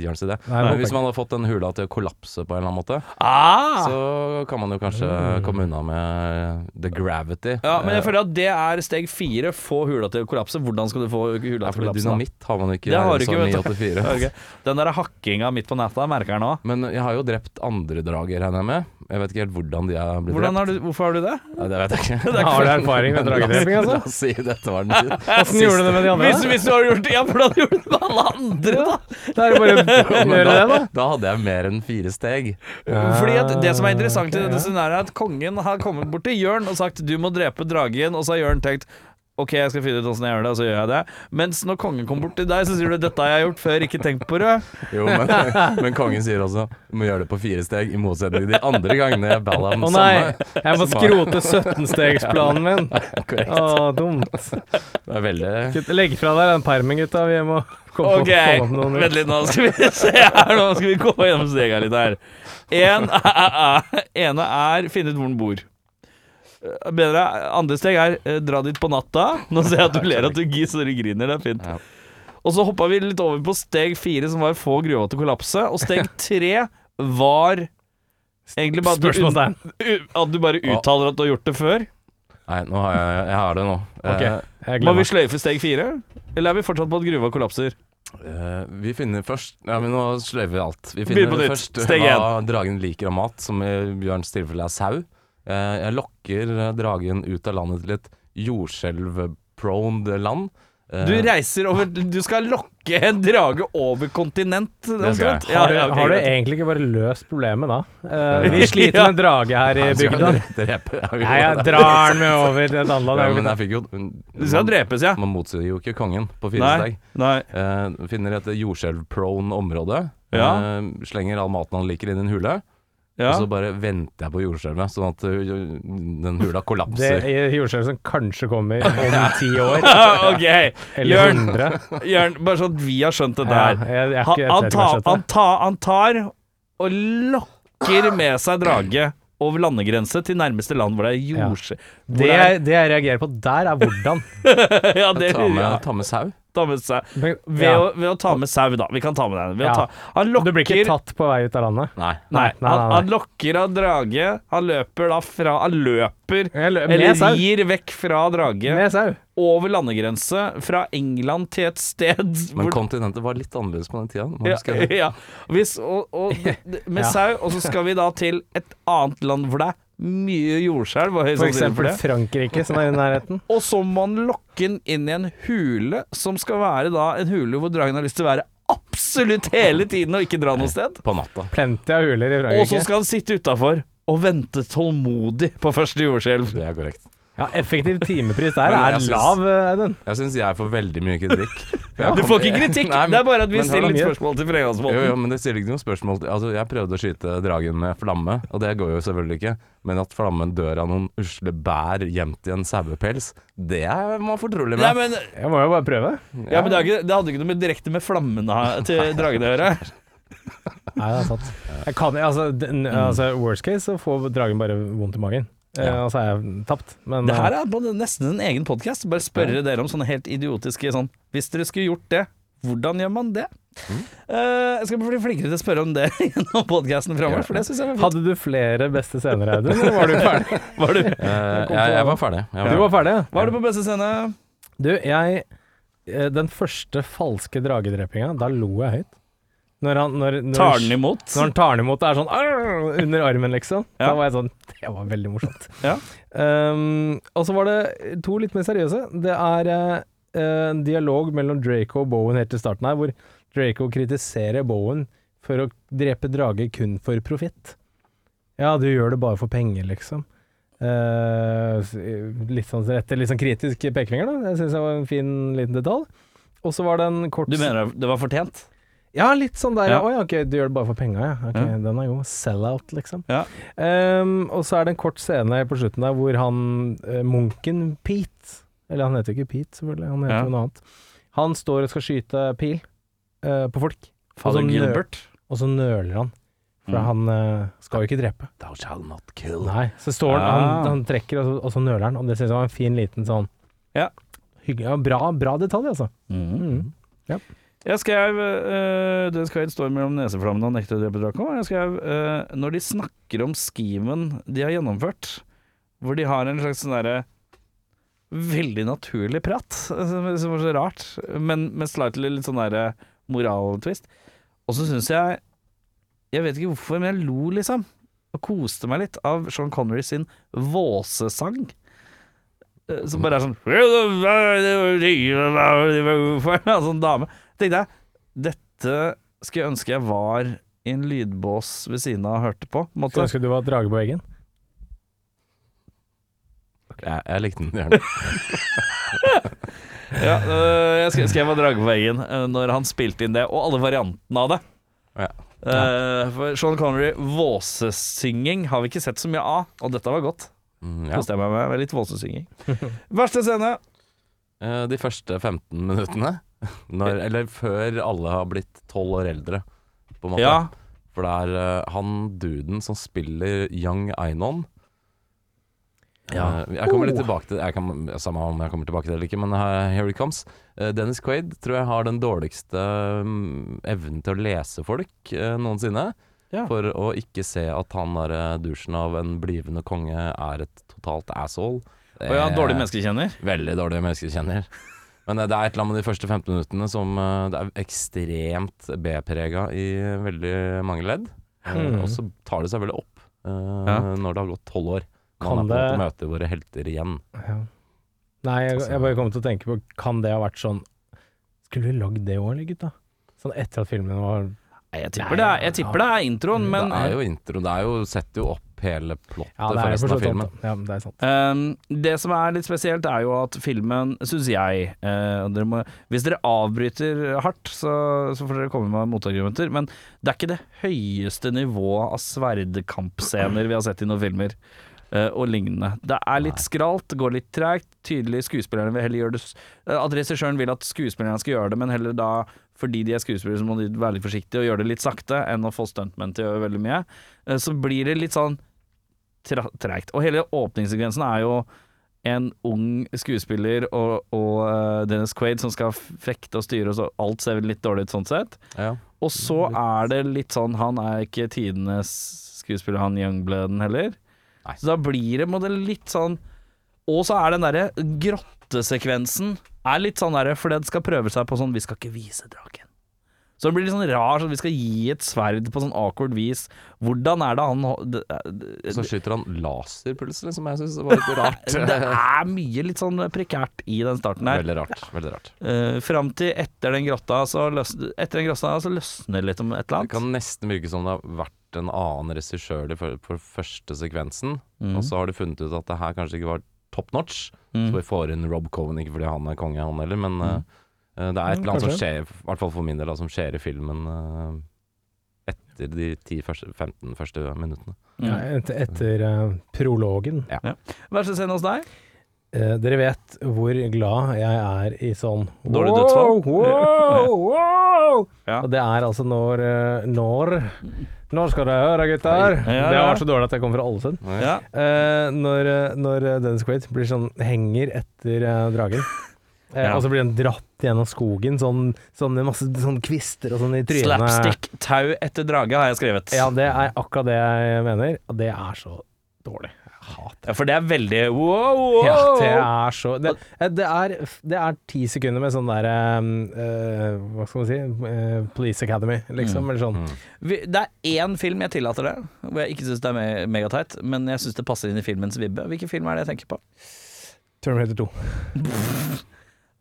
S2: Jørns idé.
S3: Nei,
S2: Men
S3: det
S2: hvis
S3: håper jeg
S2: man hadde fått den hula til å kollapse på en eller annen måte,
S1: Ah!
S2: så kan man jo kanskje
S3: Mm.
S2: komme unna med eh, the gravity.
S1: Ja, men jeg
S2: Eh,
S1: føler at det er steg fire. Få hula til å kollapse. Hvordan skal du få hula
S2: ja,
S1: til å
S2: fordi
S1: kollapse? da?
S2: dynamitt har man ikke
S1: Det har du
S2: i sånn
S1: ikke, vet du.
S2: 984.
S1: Ja, ok. Den der hakkinga midt på natta merker jeg nå.
S2: Men jeg har jo drept andre drager, regner jeg med. Jeg vet ikke helt hvordan de er blitt
S1: Hvordan
S2: drept.
S1: har du, hvorfor har du det? sånn-
S2: Nei, det vet jeg ikke.
S3: ikke. Har du erfaring med dragedreping,
S2: La
S3: altså?
S2: oss si dette var den
S3: Åssen gjorde du det med de
S1: Hvis,
S3: andre?
S1: hvis du har gjort det, ja, hvordan har du gjort det med alle andre, da?
S3: Da Da er det bare å gjøre det, da.
S2: Da hadde jeg mer enn fire steg.
S1: Fordi at Det som er interessant i
S3: Ok,
S1: dette
S3: ja.
S1: scenarioet, er at kongen har kommet bort til Jørn og sagt 'du må drepe dragen', og så har Jørn tenkt Ok, jeg skal finne ut åssen jeg gjør det, og så gjør jeg det. Mens når kongen kommer bort til deg, så sier du 'dette har jeg gjort før, ikke tenk på det'.
S2: Jo, men, men kongen sier også du må gjøre det på fire steg, i motsetning til de andre gangene jeg balla den
S3: Å nei, jeg må skrote 17-stegsplanen min.
S2: Korrekt.
S3: Å, dumt.
S2: Det er veldig
S3: Gutt, Legg fra deg den permen, gutta. Vi må komme
S1: Ok,
S3: opp, komme opp med
S1: vent
S3: noen.
S1: litt nå. Skal vi se her nå. Skal vi gå gjennom stega litt her. En, ene er finne ut hvor den bor. Eh, Bedre, andre steg er eh, dra dit på natta. Nå ser jeg at du ler at du gisser og griner. Det er
S2: Ja.
S1: fint. Og så hoppa vi litt over på steg fire, som var få gruva til å kollapse. Og steg tre var egentlig bare at du, un-
S3: Spørsmålstegn.
S1: u- at du bare uttaler at du har gjort det før.
S2: Nei, nå har jeg, jeg har det nå.
S3: Ok,
S2: Eh,
S3: jeg
S1: Må vi
S3: glemmer.
S1: sløyfe steg fire? Eller er vi fortsatt på at gruva kollapser?
S2: eh, vi finner først Ja, men nå sløver vi alt. Vi
S1: Begynn på
S2: finner
S1: nytt.
S2: først
S1: Steg
S2: hva dragen liker av mat, som i Bjørns tilfelle er sau. Eh, jeg lokker eh, dragen ut av landet til et jordskjelvproned land. Eh,
S1: Du reiser over Du skal lokke en drage over kontinent.
S2: Det skal
S1: omtrent.
S2: jeg.
S1: Ja,
S3: Har du,
S1: ja, ok,
S3: har du
S1: greit.
S3: egentlig ikke bare løst problemet da? Eh, vi sliter med en drage her i
S2: jeg skal
S3: bygda.
S2: drepe- jeg vil-
S3: Nei, jeg drar den med over til et annet
S2: Ja, men
S3: land.
S2: jeg fikk jo
S1: Du skal drepes, ja.
S2: Man motsier jo ikke kongen på
S1: Nei.
S2: Fyresteg.
S1: Nei.
S2: Eh, finner et jordskjelvprone område.
S1: Ja.
S2: Eh, slenger all maten han liker inn i en hule.
S1: Ja.
S2: Og så bare venter jeg på jordskjelvet, sånn at uh, den hula
S3: Det
S2: kollapser.
S3: er jordskjelv som kanskje kommer om ti år,
S1: ok,
S3: eller
S1: Jørn,
S3: hundre.
S1: Jørn, bare sånn at vi har skjønt det
S3: Ja,
S1: der.
S3: jeg- jeg er
S1: Han,
S3: ikke-
S1: han,
S3: jeg ser
S1: tar,
S3: ikke
S1: han, tar, han tar og lokker med seg drage over landegrense til nærmeste land hvor det er jordskje...
S3: Det jeg, det jeg reagerer på der, er hvordan.
S1: Ja, det
S2: Ta med,
S1: ja,
S2: ta med sau.
S1: ta med seg.
S3: Men-
S1: Ved,
S3: Ja.
S1: å, ved å ta med sau, da. Vi kan ta med den. Ved
S3: Ja.
S1: å ta, han lokker
S3: Du blir ikke tatt på vei ut av landet?
S2: Nei.
S1: Nei,
S3: Nei, nei,
S1: han,
S3: nei.
S1: han lokker av drage. Han løper da fra Han løper
S3: Jeg lø- Eh, med
S1: eller
S3: sau.
S1: rir vekk fra drage
S3: Med sau.
S1: over landegrense fra England til et sted
S2: Men
S1: hvor
S2: kontinentet var litt annerledes på den tida. Man
S1: ja,
S2: husker det.
S1: ja. Hvis, og, og, med
S3: Ja.
S1: sau, og så skal vi da til et annet land hvor det er mye jordskjelv. og høy sannsynlighet
S3: For
S1: for
S3: eksempel
S1: det.
S3: Frankrike, som er i nærheten.
S1: Og så må han lokke den inn i en hule, som skal være da en hule hvor dragen har lyst til å være absolutt hele tiden og ikke dra noe sted.
S2: På natta.
S3: Plenty av huler i
S1: Og så
S3: Frankrike.
S1: skal han sitte utafor og vente tålmodig på første jordskjelv.
S2: Det er korrekt.
S3: Ja, effektiv timepris der
S2: Men jeg
S3: er
S2: synes-
S3: lav, eh, Audun.
S2: Jeg syns jeg får veldig mye kritikk. For jeg
S1: Du
S2: kom-
S1: får ikke kritikk,
S2: Nei, men-
S1: det er bare at vi
S2: men her er
S1: stiller litt
S3: mye.
S1: spørsmål til
S2: Jo,
S1: Fredagsbolten.
S2: jo, men det stiller ikke noe spørsmål til Altså, jeg prøvde å skyte dragen med flamme, og det går jo selvfølgelig ikke. Men at flammen dør av noen usle bær gjemt i en sauepels, det er man fortrolig
S1: Nei,
S2: med.
S1: men,
S3: Jeg må jo bare prøve.
S1: ja, men det, er ikke, det hadde ikke noe med direkte med flammene til dragene å gjøre.
S3: Nei, det er sant. Jeg kan, altså, den,
S1: Mm.
S3: altså, worst case så får dragen bare vondt i magen. Eh,
S2: Ja.
S3: og så er jeg tapt. Men
S1: Det her
S3: eh,
S1: er på nesten en egen podkast. Bare spørre dere om sånne helt idiotiske sånn Hvis dere skulle gjort det, hvordan gjør man det? Eh, jeg skal bli flinkere til å spørre om det gjennom podkasten framover, for det syns jeg var fint.
S3: hadde du flere beste scener, Audun, eller var du ferdig?
S1: Var du,
S2: Eh,
S1: kom
S2: jeg,
S1: på-
S2: jeg var ferdig. Jeg
S3: Du var ferdig, ja.
S1: var du på beste scene?
S3: Du, jeg eh, Den første falske dragedrepinga, da lo jeg høyt. Når han når, når,
S1: Tar den imot?
S3: Når han tar den imot, det er sånn «Arr!» under armen, liksom.
S1: Ja.
S3: Da var jeg sånn Det var veldig morsomt.
S1: Ja.
S3: Um, og så var det to litt mer seriøse. Det er eh, en dialog mellom Draco og Bowen helt til starten her, hvor Draco kritiserer Bowen for å drepe drager kun for profitt. Ja, du gjør det bare for penger, liksom. Eh, s- litt sånn rette, litt sånn kritisk pekefinger, da. Jeg syns det var en fin liten detalj. Og så var det en kort
S1: Du mener det var fortjent?
S3: ja, litt sånn der. Ja.
S1: Ja.
S3: Å ja, ok, du gjør det bare for penga, ja. Ok,
S1: Ja.
S3: Den er god. Sell-out, liksom.
S1: Ja.
S3: Ehm, og så er det en kort scene på slutten der hvor han eh, munken Pete Eller han heter jo ikke Pete, selvfølgelig, han heter
S1: Ja.
S3: jo noe annet. Han står og skal skyte pil eh, på folk,
S1: Fader
S3: Og så nø-
S1: Gilbert?
S3: og så nøler han. For
S1: Mm.
S3: han eh, skal jo ikke drepe.
S2: Thou shall not kill.
S3: Nei. Så står han,
S1: Ah.
S3: han, han trekker, og så, og så nøler han. Og det synes jeg var en fin liten sånn
S1: Ja.
S3: Hyggelig, ja, bra, bra detalj, altså. Mm.
S1: Jeg skrev uh, Den skal står mellom neseflammene og nekter å drepe Draco. Jeg skrev eh, når de snakker om skimen de har gjennomført, hvor de har en slags sånn derre Veldig naturlig prat, som som var så rart, men med slightly litt sånn derre moraltvist. Og så syns jeg Jeg vet ikke hvorfor, men jeg lo, liksom. Og koste meg litt av Sean Connery sin våsesang. Eh, Som bare er sånn Altså en dame. Tenkte jeg, dette skulle jeg ønske jeg var i en lydbås ved siden av og hørte på. på en måte.
S3: Skulle ønske du var drage på veggen.
S2: Jeg, jeg likte den gjerne.
S1: Ja, øh, jeg skrev, skrev av Drage på veggen øh, når han spilte inn det, og alle variantene av det.
S2: Ja.
S1: Eh, for Sean Connery, våsesynging har vi ikke sett så mye av, og dette var godt.
S2: Mm, ja.
S1: Koste jeg meg med, med litt våsesynging. Verste scene.
S2: Eh, De første 15 minuttene, når, eller før alle har blitt 12 år eldre, på en måte.
S1: Ja.
S2: For det er eh, han duden som spiller Young Einon.
S1: Ja.
S2: Eh, Jeg kommer litt
S3: Oh.
S2: tilbake til jeg kan, Samme om jeg kommer tilbake til det eller ikke, men her, here it comes. Eh, Dennis Quaid tror jeg har den dårligste mm, evnen til å lese folk eh, noensinne.
S1: Ja.
S2: For å ikke se at han der eh, dusjen av en blivende konge er et totalt asshole. Det
S1: Og ja, dårlig
S2: er
S1: menneskekjenner.
S2: Veldig dårlig menneskekjenner. Men eh, det er et eller annet med de første 15 minuttene som eh, det er ekstremt B-prega i veldig mange ledd. Eh,
S3: Mm.
S2: Og så tar det seg veldig opp eh,
S1: Ja.
S2: når det har gått tolv år.
S3: Kan
S2: Man er på en måte
S3: det-
S2: møter våre helter igjen.
S3: Ja. Nei, jeg, jeg bare kom til å tenke på Kan det ha vært sånn Skulle vi lagd det òg, eller, gutta? Sånn etter at filmen var
S1: Nei, jeg tipper, det, er, jeg tipper det er introen, men
S2: Mm, det er jo intro, det er jo, setter jo opp hele plottet
S3: eh, Ja, det
S2: for
S3: er for
S2: resten
S3: så
S2: av
S3: vidt
S2: filmen.
S3: sant. da. Ja, men det er sant.
S1: Um, det som er litt spesielt, er jo at filmen, syns jeg eh, og dere må, Hvis dere avbryter hardt, så, så får dere komme med motargumenter. Men det er ikke det høyeste nivået av sverdkampscener vi har sett i noen filmer. eh, og lignende. Det er litt skralt, det går litt tregt. Tydelig skuespillerne vil heller gjøre det s- eh, At regissøren vil at skuespillerne skal gjøre det, men heller da fordi de er skuespillere, så må de være litt forsiktige og gjøre det litt sakte, enn å få stuntmenn til å gjøre veldig mye. Eh, så blir det litt sånn tra- treigt. Og hele åpningssekvensen er jo en ung skuespiller og, og eh, Dennis Quaid som skal fekte og styre, og så alt ser vel litt dårlig ut sånn sett.
S2: Ja.
S1: Og så er det litt sånn Han er ikke tidenes skuespiller, han Youngbladen heller.
S2: Nei.
S1: Så da blir det, må det litt sånn Og så er den derre grottesekvensen er litt sånn derre Fred skal prøve seg på sånn Vi skal ikke vise draken. Så det blir litt sånn rar, sånn vi skal gi et sverd på sånn awkward vis. Hvordan er det han ho- det- det-
S2: Så skyter han laser plutselig, som jeg syns var litt rart.
S1: det er mye litt sånn prekært i den starten her.
S2: Veldig rart. veldig rart.
S1: Uh, fram til etter den grotta, så løsner, etter den grotta så løsner det litt om et eller
S2: Det
S1: annet.
S2: kan nesten virke som det har vært en annen regissør de for, for første sekvensen,
S1: Mm.
S2: og så har de funnet ut at det her kanskje ikke var top notch.
S1: Mm.
S2: Så vi får inn Rob Cohen, ikke fordi han er konge, han heller, men eh, det er et eller annet som
S3: kanskje.
S2: skjer, i hvert fall for min del, da, som skjer i filmen eh, etter de 10 første, 15 første minuttene.
S1: Mm.
S3: Ja, et- etter eh, prologen.
S1: Vær så snill hos deg.
S3: Eh, dere vet hvor glad jeg er i sånn
S1: Dårlig
S3: wow,
S1: dødsfall.
S3: Wow, wow.
S1: Ja.
S3: Og det er altså når eh, Når Når skal dere høre, gutter?
S1: Ja, ja.
S3: Det har vært så dårlig at jeg kommer fra Ålesund.
S1: Ja.
S3: Eh, når, eh, når eh, Dennis Quaid blir sånn henger etter eh, dragen. Eh,
S2: Ja.
S3: Og så blir han dratt gjennom skogen, sånn, sånn med masse sånn kvister og sånn i trynet.
S1: Slapstick tau etter drage har jeg skrevet.
S3: Ja, det er akkurat det jeg mener, og det er så dårlig. Jeg hater det.
S1: Ja, For det er veldig wow, wow.
S3: Ja, det er så Det, eh, det, er, det er ti sekunder med sånn derre Hva skal man si? eh, Police Academy, liksom. Eller sånn.
S1: Vi, det er én film jeg tillater det, hvor jeg ikke syns det er me megateit, men jeg syns det passer inn i filmens vibbe. Hvilken film er det jeg tenker på?
S3: Terminator 2.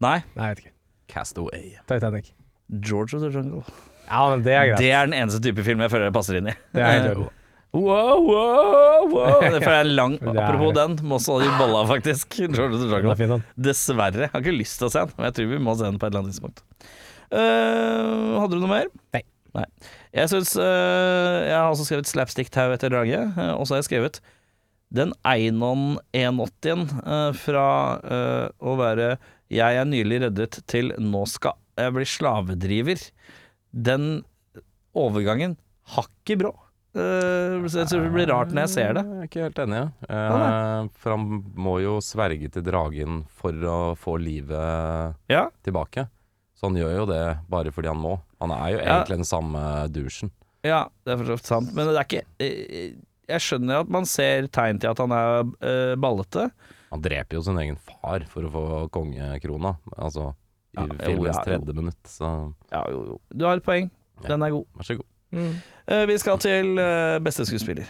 S1: Nei,
S3: Nei, jeg vet ikke.
S2: Castaway.
S3: Titanic.
S1: George of the Jungle.
S3: Ja, men det er greit.
S1: Det er den eneste type film jeg føler det passer inn i.
S3: Det er helt greit.
S1: Wow, wow, wow. Det er lang
S3: er-
S1: Apropos den, må også ha de bolla, faktisk. George of the
S3: Den er
S1: Jungle.
S3: fin, den.
S1: Dessverre. Jeg har ikke lyst til å se den, men jeg tror vi må se den på et eller annet tidspunkt. Eh, hadde du noe mer?
S3: Nei.
S1: Nei. Jeg syns Jeg har også skrevet 'slapstick-tau etter draget', eh, og så har jeg skrevet den Einon 180-en eh, fra eh, å være 'jeg er nylig reddet' til 'nå skal jeg bli slavedriver'. Den overgangen hakket brå. Eh, så jeg tror det blir rart når jeg ser det.
S2: Jeg er ikke helt enig. Ja. Eh,
S1: Ja,
S2: for han må jo sverge til dragen for å få livet
S1: Ja.
S2: tilbake. Så han gjør jo det bare fordi han må. Han er
S1: Ja.
S2: jo egentlig den samme douchen.
S1: Ja, det er for så vidt sant. Men det er ikke eh, Jeg skjønner at man ser tegn til at han er eh, ballete.
S2: Han dreper jo sin egen far for å få kongekrona, altså i
S1: Ja, jo,
S2: filmens
S1: ja, jo.
S2: tredje minutt. Så
S1: Ja, jo, jo. Du har et poeng. Den er god.
S2: vær så god.
S1: Eh, vi skal til eh, beste skuespiller.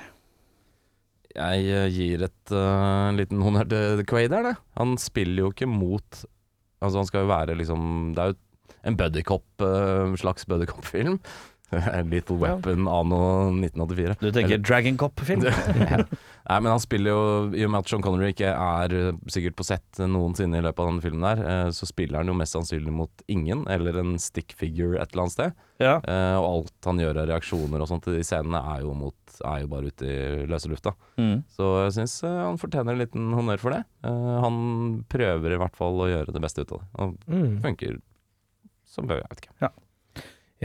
S2: Jeg eh, gir et eh, liten honnør til Quaid her, det. Han spiller jo ikke mot Altså, han skal jo være liksom Det er jo en buddycop, uh, slags buddycop-film. Little Weapon anno 1984.
S1: Du tenker Dragon Cop-film?
S2: Ja. Nei, men han spiller jo I og med at Sean Connery ikke er eh, sikkert på sett noensinne i løpet av den filmen der, eh, så spiller han jo mest sannsynlig mot ingen, eller en stick figure et eller annet sted.
S1: Ja.
S2: Eh, Og alt han gjør av reaksjoner og sånt i de scenene, er jo, mot, er jo bare ute i løse lufta.
S1: Mm.
S2: Så jeg syns han fortjener en liten honnør for det. Eh, Han prøver i hvert fall å gjøre det beste ut av det. Og
S3: Mm.
S2: funker som bør, jeg vet ikke.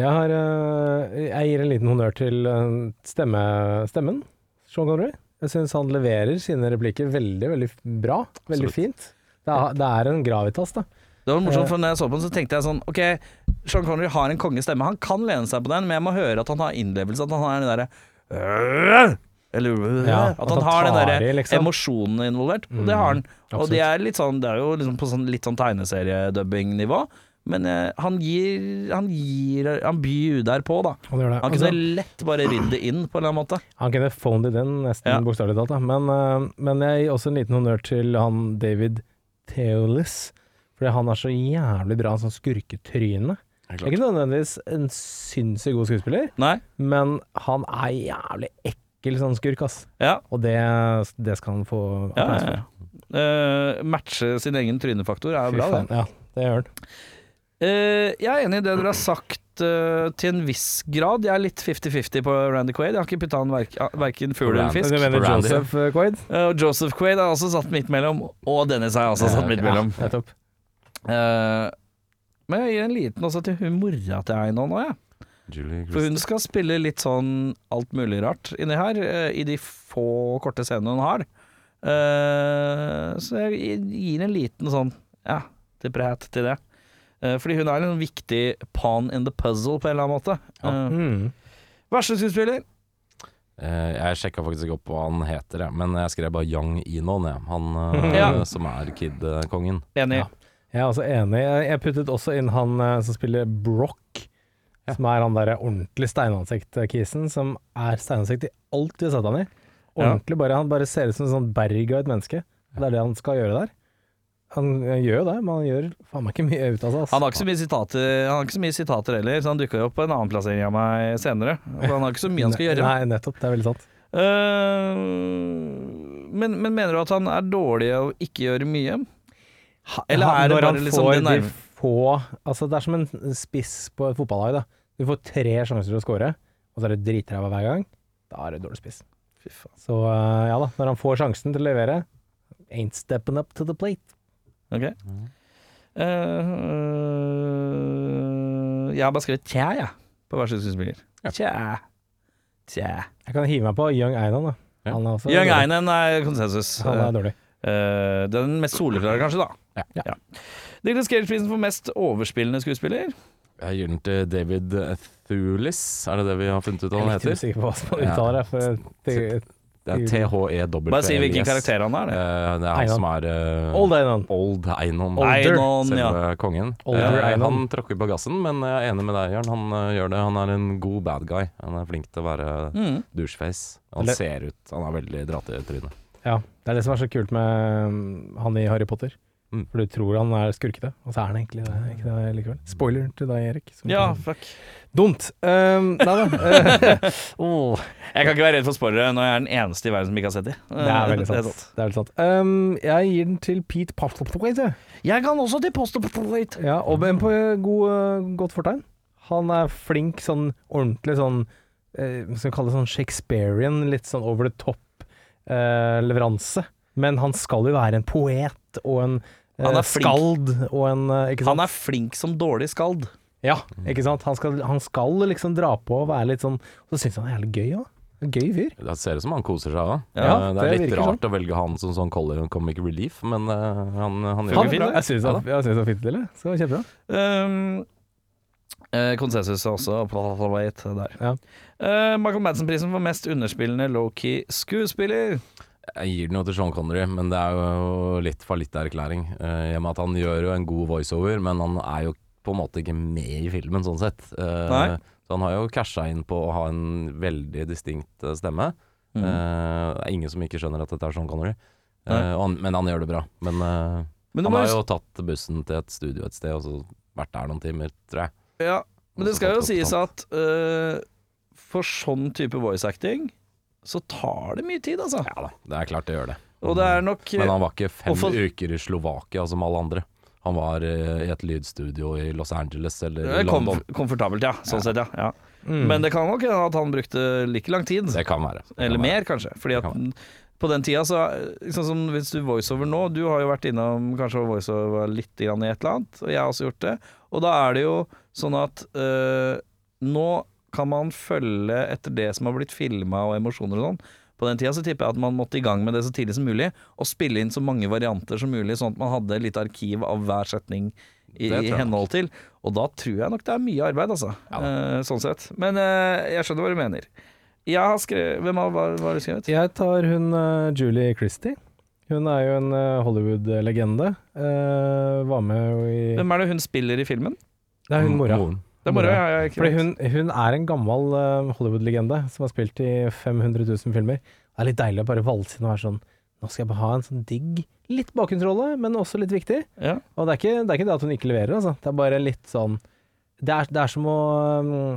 S3: Jeg, har, eh, jeg gir en liten honnør til eh, stemme, stemmen, Sean Connery. Jeg syns han leverer sine replikker veldig, veldig bra. Veldig
S2: Absolutt.
S3: fint. Det er, det er en gravitas, da.
S1: Det var morsomt, for når jeg så på den, så tenkte jeg sånn OK, Sean Connery har en kongestemme. Han kan lene seg på den, men jeg må høre at han har innlevelse. At han har den derre eller øh,
S3: Ja,
S1: at, han har den
S3: tar
S1: derre
S3: i, liksom. Mm,
S1: emosjonen involvert. Og det har han. Og det er litt sånn Det er jo liksom på sånn, litt sånn tegneseriedubbingnivå. Men eh, han gir Han gir Han byr der på, da.
S3: Han gjør det.
S1: Han kunne lett bare ridd det inn på en eller annen måte.
S3: Altså, Han kunne phoned it in, nesten
S1: Ja.
S3: bokstavelig talt. Da. Men, eh, men jeg gir også en liten honnør til han David Theolis. Fordi han har så jævlig bra sånn skurketryne.
S2: Helt
S3: Ikke nødvendigvis en sinnssykt god skuespiller,
S1: Nei?
S3: men han er jævlig ekkel sånn skurk, ass.
S1: Ja.
S3: Og det, det skal han få
S1: ja,
S3: applaus
S1: ja,
S3: for.
S1: ja. Eh, matche sin egen trynefaktor er
S3: Fy
S1: bra, det.
S3: faen, ja, det gjør han.
S1: Eh, jeg er enig i det dere har sagt eh, til en viss grad. Jeg er litt 50-50 på Randy Quaid. Jeg har ikke putta han verk, verken fugl eller
S2: Randy.
S1: fisk.
S3: Du mener
S2: Randy.
S3: Joseph Quaid?
S1: Eh, og Joseph Quaid er også satt midt mellom, og Dennis er også satt midt mellom.
S3: Nettopp.
S1: Eh, men jeg gir en liten også til hun mora til Einon òg, jeg.
S2: Julie
S1: For
S2: Christie.
S1: hun skal spille litt sånn alt mulig rart inni her, eh, i de få korte scenene hun har. Eh, så jeg gir en liten sånn ja, til Brett til det. Eh, fordi hun er en viktig pawn in the puzzle på en eller annen måte.
S2: Ja.
S1: Eh,
S3: Mm.
S1: Verste skuespiller?
S2: Eh, jeg sjekka faktisk ikke opp hva han heter, jeg, men jeg skrev bare Young Enon, jeg. Han eh,
S1: Ja.
S2: som er Kid-kongen.
S1: Enig.
S3: Ja. Jeg er også enig. Jeg jeg puttet også inn han eh, som spiller Brock, som er han derre ordentlig steinansikt-kisen, som er steinansikt i alt vi har sett han i. Ordentlig bare, Han bare ser ut som en sånn berg av et menneske. Det er det han skal gjøre der. Han eh, gjør jo det, men han gjør faen meg ikke mye ut av seg.
S1: Han
S3: ass.
S1: har ikke så mye sitater, han har ikke så mye sitater heller, så han dukka jo opp på en annen plassering av meg senere. For han har ikke så mye han skal gjøre.
S3: Nei, nettopp. Det er veldig sant.
S1: Eh, men, men mener du at han er dårlig av ikke gjøre mye? Eller
S3: Han-
S1: er det
S3: Når
S1: bare
S3: han
S1: liksom
S3: får
S1: det
S3: de
S1: nærme-
S3: få Altså, det er som en spiss på et fotballag, da. Du får tre sjanser til å score, og så er du dritræva hver gang. Da er du dårlig spiss.
S1: Fy faen.
S3: Så eh, ja da, når han får sjansen til å levere Ain't stepping up to the plate.
S1: Ok. Eh, øh, jeg har bare skrevet tja, jeg, på hver sin skuespiller. Tja. Tja.
S3: Jeg kan hive meg på Young Einan, da.
S2: Ja.
S3: Han er også
S1: Young
S3: dårlig.
S1: Einen er konsensus.
S3: Han er dårlig.
S1: Eh, den mest soleklare, kanskje, da.
S2: Ja.
S1: ja. Nicholas Cage-prisen for mest overspillende skuespiller.
S2: Jeg gir den til David Thulis, er det det vi har funnet ut hva
S3: Jeg
S2: han
S3: er litt
S2: heter?
S3: usikker på hva som uttaler det. For det-
S2: Det er E THEWLS.
S1: Bare si hvilken karakter han er. Det.
S2: Eh, det er han
S3: Einon.
S2: som er eh,
S3: Old Einan.
S2: Old Einon.
S3: Older.
S1: Einon,
S2: Selve
S1: ja.
S2: kongen.
S3: Older
S2: Eh,
S3: Einon.
S2: han tråkker på gassen, men eh, jeg er enig med deg, Jørn. Han eh, gjør det. Han er en god bad guy. Han er flink til å være
S1: Mm.
S2: doucheface. Han
S3: Eller-
S2: ser ut Han er veldig dratt i trynet.
S3: Ja, det er det som er så kult med um, han i Harry Potter.
S2: Mm.
S3: For du tror han er skurkete, og så er han egentlig det. Ikke det likevel. Spoiler til deg, Erik. som-
S1: Ja, fuck.
S3: Dumt! Um, nei da. oh.
S1: Jeg kan ikke være redd for spoilere når jeg er den eneste i verden som ikke har sett Eh, dem.
S3: Det er veldig sant. Det er veldig sant. Um, jeg gir den til Pete Paftloptoid, jeg.
S1: Jeg kan også til Post-Optoid.
S3: Ja, og men på eh, god, godt fortegn. Han er flink, sånn ordentlig sånn eh, Hva skal vi kalle det, sånn Shakespearean, litt sånn over the top-leveranse. Men han skal jo være en poet og en eh,
S1: Han er flink.
S3: skald og en eh, Ikke sant?
S1: Han er flink som dårlig skald.
S3: Ja, ikke sant? Han skal, han skal liksom dra på og være litt sånn Så syns han er jævlig gøy òg. Gøy fyr.
S2: Det ser ut som han koser seg òg.
S3: Ja,
S2: det er
S3: det
S2: litt
S3: virker
S2: rart å velge han som sånn color comic relief, men eh, han, han gjør
S3: Han,
S2: det fint.
S3: jeg syns han jeg syns han er fint til det. Så kjempebra.
S1: Um, eh, konsensus er også Optoid der.
S3: Ja.
S1: Eh, Michael Madsen-prisen for mest underspillende low-key skuespiller.
S2: Jeg gir den jo til Sean Connery, men det er jo litt fallitterklæring. Uh, I og med at han gjør jo en god voiceover, men han er jo på en måte ikke med i filmen, sånn sett. Eh,
S1: Nei.
S2: så han har jo casha inn på å ha en veldig distinkt eh, stemme. Eh, det er ingen som ikke skjønner at dette er Sean Connery, Eh,
S1: Mm. Nei.
S2: og han, men han gjør det bra. Men, eh,
S1: Men du
S2: han
S1: må
S2: har
S1: huske-
S2: jo tatt bussen til et studio et sted, og så vært der noen timer, tror jeg.
S1: Ja, men det
S2: Også
S1: skal jo
S2: tatt
S1: sies
S2: opp,
S1: at eh, for sånn type voice acting så tar det mye tid, altså.
S2: Ja da, det er klart det gjør det.
S1: Og det er nok
S2: Men han var ikke fem
S1: Og for-
S2: uker i Slovakia som alle andre. Han var eh, i et lydstudio i Los Angeles eller
S1: eh,
S2: i
S1: komf
S2: London. Mm.
S1: komfortabelt, ja. Sånn sett, ja. ja. Men det kan nok hende at han brukte like lang tid,
S2: Det kan være. Det
S1: eller
S2: kan være.
S1: mer kanskje. Fordi at
S2: Det kan
S1: på den tida så eh, Sånn som hvis du voiceover nå, du har jo vært innom kanskje voiceover litt grann i et eller annet, og jeg har også gjort det. Og da er det jo sånn at eh, nå kan man følge etter det som har blitt filma og emosjoner og sånn. På den tida så tipper jeg at man måtte i gang med det så tidlig som mulig, og spille inn så mange varianter som mulig, sånn at man hadde litt arkiv av hver setning i,
S2: Det tror jeg
S1: i
S2: nok.
S1: henhold til. Og da tror jeg nok det er mye arbeid, altså.
S2: Ja
S1: Eh, sånn sett. Men eh, jeg skjønner hva du mener. Jeg har skrevet Hvem har, hva, hva har du skrevet?
S3: Jeg tar hun eh, Julie Christie. Hun er jo en eh, Hollywood-legende. Eh, var med jo i
S1: Hvem er det hun spiller i filmen?
S3: Det er hun mora.
S1: Det er bare jeg, jeg, ikke
S3: Fordi
S1: vet.
S3: hun, hun er en gammel eh, Hollywood-legende som har spilt i 500 000 filmer. Det er litt deilig å bare valse inn og være sånn Nå nå skal jeg bare ha en sånn digg Litt bakgrunnsrolle, men også litt viktig.
S1: Ja.
S3: Og det er, ikke, det er ikke det at hun ikke leverer, altså. Det er bare litt sånn Det er, det er som å mm,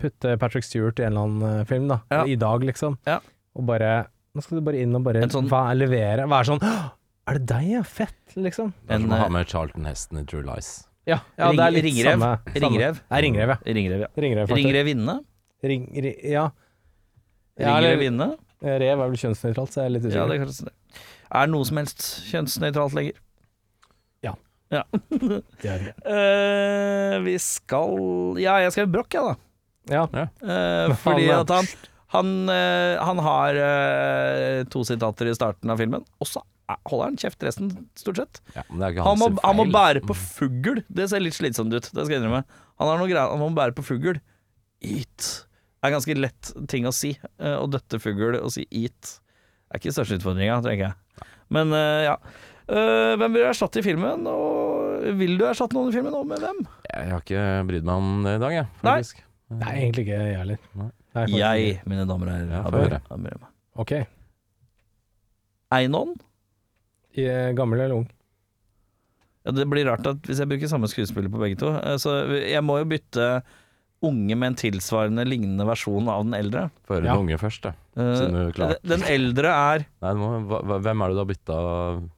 S3: putte Patrick Stewart i en eller annen eh, film, da.
S1: Ja.
S3: I dag, liksom.
S1: Ja.
S3: Og bare Nå skal du bare inn og bare
S1: En sånn-
S3: væ- levere. Være sånn «Åh, Er det deg, ja? Fett, liksom.
S2: Det er
S1: En,
S2: som å
S1: eh,
S2: ha med Charlton Heston i True Lies.
S3: Ja, ja det er litt
S1: Ringrev.
S3: samme. samme.
S1: Ringrev.
S3: Nei, ringrev, ja.
S1: Ringrev, ja.
S3: Ringrev, faktisk.
S1: Ringrevinne?
S3: Ring, ri, ja. Ja, eller- Eh,
S1: Ringrevinne?
S3: Rev er vel kjønnsnøytralt, så jeg er litt
S1: Ja,
S3: usikker.
S1: det er kanskje det. Er noe som helst kjønnsnøytralt lenger?
S3: Ja.
S1: Ja.
S3: Det er det.
S1: Eh, vi skal Ja, jeg skrev Broch, jeg, da.
S3: Ja.
S1: Eh, fordi
S3: Han er-
S1: at han han, eh, han har eh, to sitater i starten av filmen, og så er- holder han kjeft resten, stort sett.
S2: Ja, men det er ikke
S1: Han
S2: hans
S1: må,
S2: sin
S1: han må
S2: feil.
S1: bære på fugl. Det ser litt slitsomt ut, det skal jeg innrømme. Han har noe greier, han må bære på fugl. Eat. Det er ganske lett ting å si. eh, Å døtte fugl og si eat. Det er ikke største utfordringa, tenker jeg. Men eh, ja. Eh, hvem vil du erstatte i filmen, og vil du erstatte noen i filmen, og med hvem?
S2: Jeg har ikke brydd meg om det i dag, jeg.
S1: Nei.
S2: Faktisk.
S3: Nei, egentlig ikke jeg heller.
S2: Nei.
S3: Nei, faktisk
S1: Jeg,
S3: ikke.
S1: mine damer og
S2: Ja, få
S1: herrer.
S2: høre.
S1: har med meg.
S3: Ok.
S1: Einon?
S3: I, eh, Gammel eller ung?
S1: Ja, det blir rart at hvis jeg bruker samme skuespiller på begge to. eh, Så jeg må jo bytte unge med en tilsvarende lignende versjon av den eldre.
S2: Få høre
S3: Ja.
S2: den unge først, da.
S1: Eh,
S2: Siden du klarte-
S1: den- Den eldre er
S2: Nei, du må, hva, hva- hvem er det du har bytta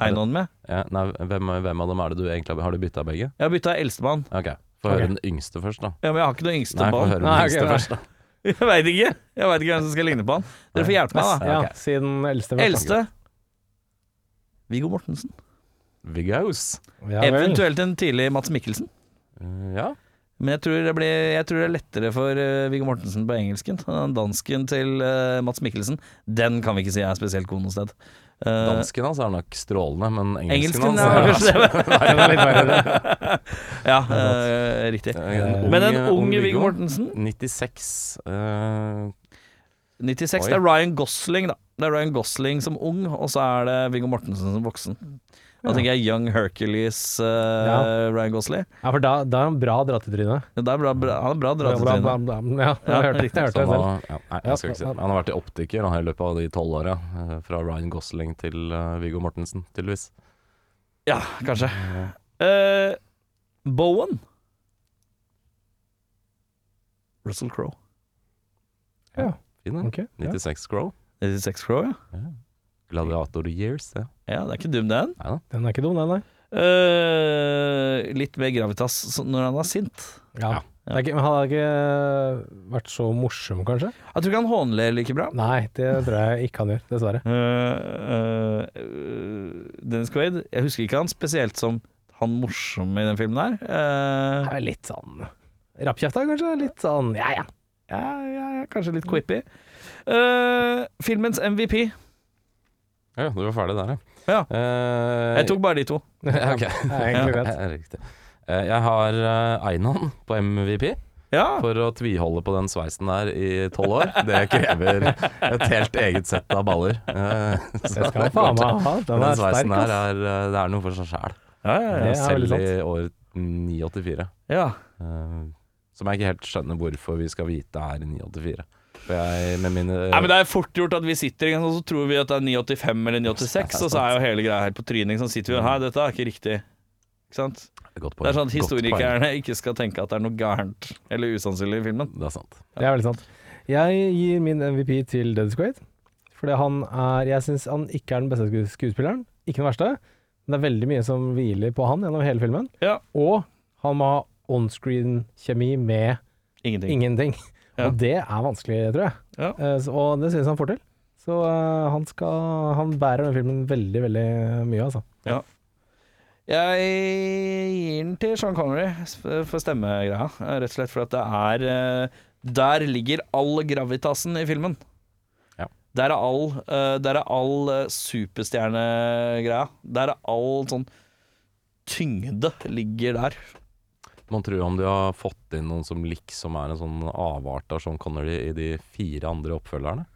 S1: Einon med.
S2: ja, Nei, hvem, hvem av dem er det du egentlig har- har du bytta begge?
S1: Jeg har bytta eldstemann.
S2: Ok, Få
S3: Ok.
S2: høre den yngste først, da.
S1: Ja, men jeg har ikke noe yngste
S2: Nei,
S1: på
S2: få høre
S1: han.
S2: den
S3: Nei, ok,
S2: yngste
S3: nei.
S2: først, da.
S1: Jeg veit ikke Jeg vet ikke hvem som skal ligne på han. Dere får hjelpe meg, da.
S2: Ja,
S3: Ja,
S2: ok.
S3: siden eldste. var-
S1: Eldste Viggo Mortensen.
S2: Viggaus.
S3: Ja, vel.
S1: Eventuelt en tidlig Mats Mikkelsen.
S2: Eh, ja.
S1: Men jeg tror, det blir, jeg tror det er lettere for eh, Viggo Mortensen på engelsken. Den dansken til eh, Mats Mikkelsen, den kan vi ikke si er spesielt god noe sted. Eh,
S2: Dansken hans er nok strålende, men engelsken,
S1: engelsken er
S2: hans
S1: kanskje det.
S3: Den er litt verre, det.
S1: Ja, eh, riktig.
S2: Eh,
S1: Men en
S2: unge-
S1: ung
S2: unge
S1: Viggo Mortensen
S2: 96. eh,
S1: 96.
S2: Oi.
S1: Det er Ryan Gosling, da. Det er Ryan Gosling som ung, og så er det Viggo Mortensen som voksen. Da
S3: Ja.
S1: tenker jeg Young Hercules, eh,
S3: Ja.
S1: Ryan Gosling.
S3: Ja, for da, da er han bra dratt i trynet.
S1: Det er bra, bra, han er bra dratt i
S3: Bla, bla,
S1: trynet.
S3: bla, bla. Ja, jeg hørte det, jeg
S2: så
S3: hørte
S2: han,
S3: det selv.
S2: har, ja, nei, jeg skal ikke si det. Men han har vært i optiker han, her i løpet av de tolv åra. eh, Fra Ryan Gosling til eh, Viggo Mortensen, tydeligvis.
S1: Ja, kanskje. Eh, Bowen. Russell Crowe.
S2: Fin, den.
S3: Ok, ja.
S2: 96 Grow.
S1: 96 Crowe, ja.
S2: Gladiator Years, ja.
S1: ja. Det er ikke dum, den.
S2: Nei da.
S3: Den er ikke dum, den, nei.
S1: Eh, litt mer gravitas så- når han er sint.
S3: Ja. Det er ikke, men han har ikke vært så morsom, kanskje?
S1: Jeg tror ikke han hånler like bra.
S3: Nei, det tror jeg ikke han gjør, dessverre.
S1: Eh, eh, Dennis Quaid Jeg husker ikke han spesielt som han morsomme i den filmen her. Eh,
S3: Han er litt sånn rappkjefta, kanskje? Litt sånn ja ja.
S1: ja, ja, ja, kanskje litt quippy. Eh, filmens MVP.
S2: Ja, du var ferdig der,
S1: Ja.
S2: Eh,
S1: Jeg tok bare de to.
S2: Ja, ok.
S3: Det er egentlig
S2: Ja,
S3: greit.
S2: ja, riktig. Eh, Jeg har eh, Einan på MVP
S1: Ja,
S2: for å tviholde på den sveisen der i tolv år. Det krever et helt eget sett av baller. Eh, så
S3: Det skal
S2: det
S3: han faen
S2: går til.
S3: meg ha.
S2: Den,
S3: Den er
S2: sveisen
S3: sterk,
S2: her
S3: ass.
S2: er, eh, det er noe for seg sjæl.
S1: ja, ja, ja.
S3: Det er veldig
S2: Selv
S3: sant.
S2: i år 984.
S1: ja.
S2: eh, Som jeg ikke helt skjønner hvorfor vi skal vite er i 984. For jeg med mine
S1: Nei, men Det er fort gjort at vi sitter ikke sant, og så tror vi at det er 985 eller 986, og så er jo hele greia her på tryning. Sånn sitter vi og Hei, dette er ikke riktig. Ikke sant?
S2: eh, Godt poeng.
S1: Det er sånn at
S2: Godt poeng.
S1: historikerne ikke skal tenke at det er noe gærent eller usannsynlig i filmen.
S2: Det er sant.
S3: Det er veldig sant. Jeg gir min MVP til Dennis Quaid. Fordi han er Jeg syns han ikke er den beste skues- skuespilleren. Ikke den verste. Men det er veldig mye som hviler på han gjennom hele filmen.
S1: Ja.
S3: Og han må ha onscreen-kjemi med
S1: Ingenting.
S3: ingenting.
S1: Ja.
S3: Og det er vanskelig, tror jeg.
S1: Ja.
S3: Eh, så- og det synes han får til. Så eh, han, skal, han bærer den filmen veldig, veldig mye, altså.
S1: Jeg gir den til Sean Connery s- for stemmegreia, eh, rett og slett fordi at det er eh, Der ligger all gravitasen i filmen.
S2: Ja.
S1: Der er all, eh, der er all eh, superstjernegreia. Der er all sånn tyngde ligger der.
S2: Man tror om de har fått inn noen som liksom er en sånn avart av Sean Connery i de fire andre oppfølgerne.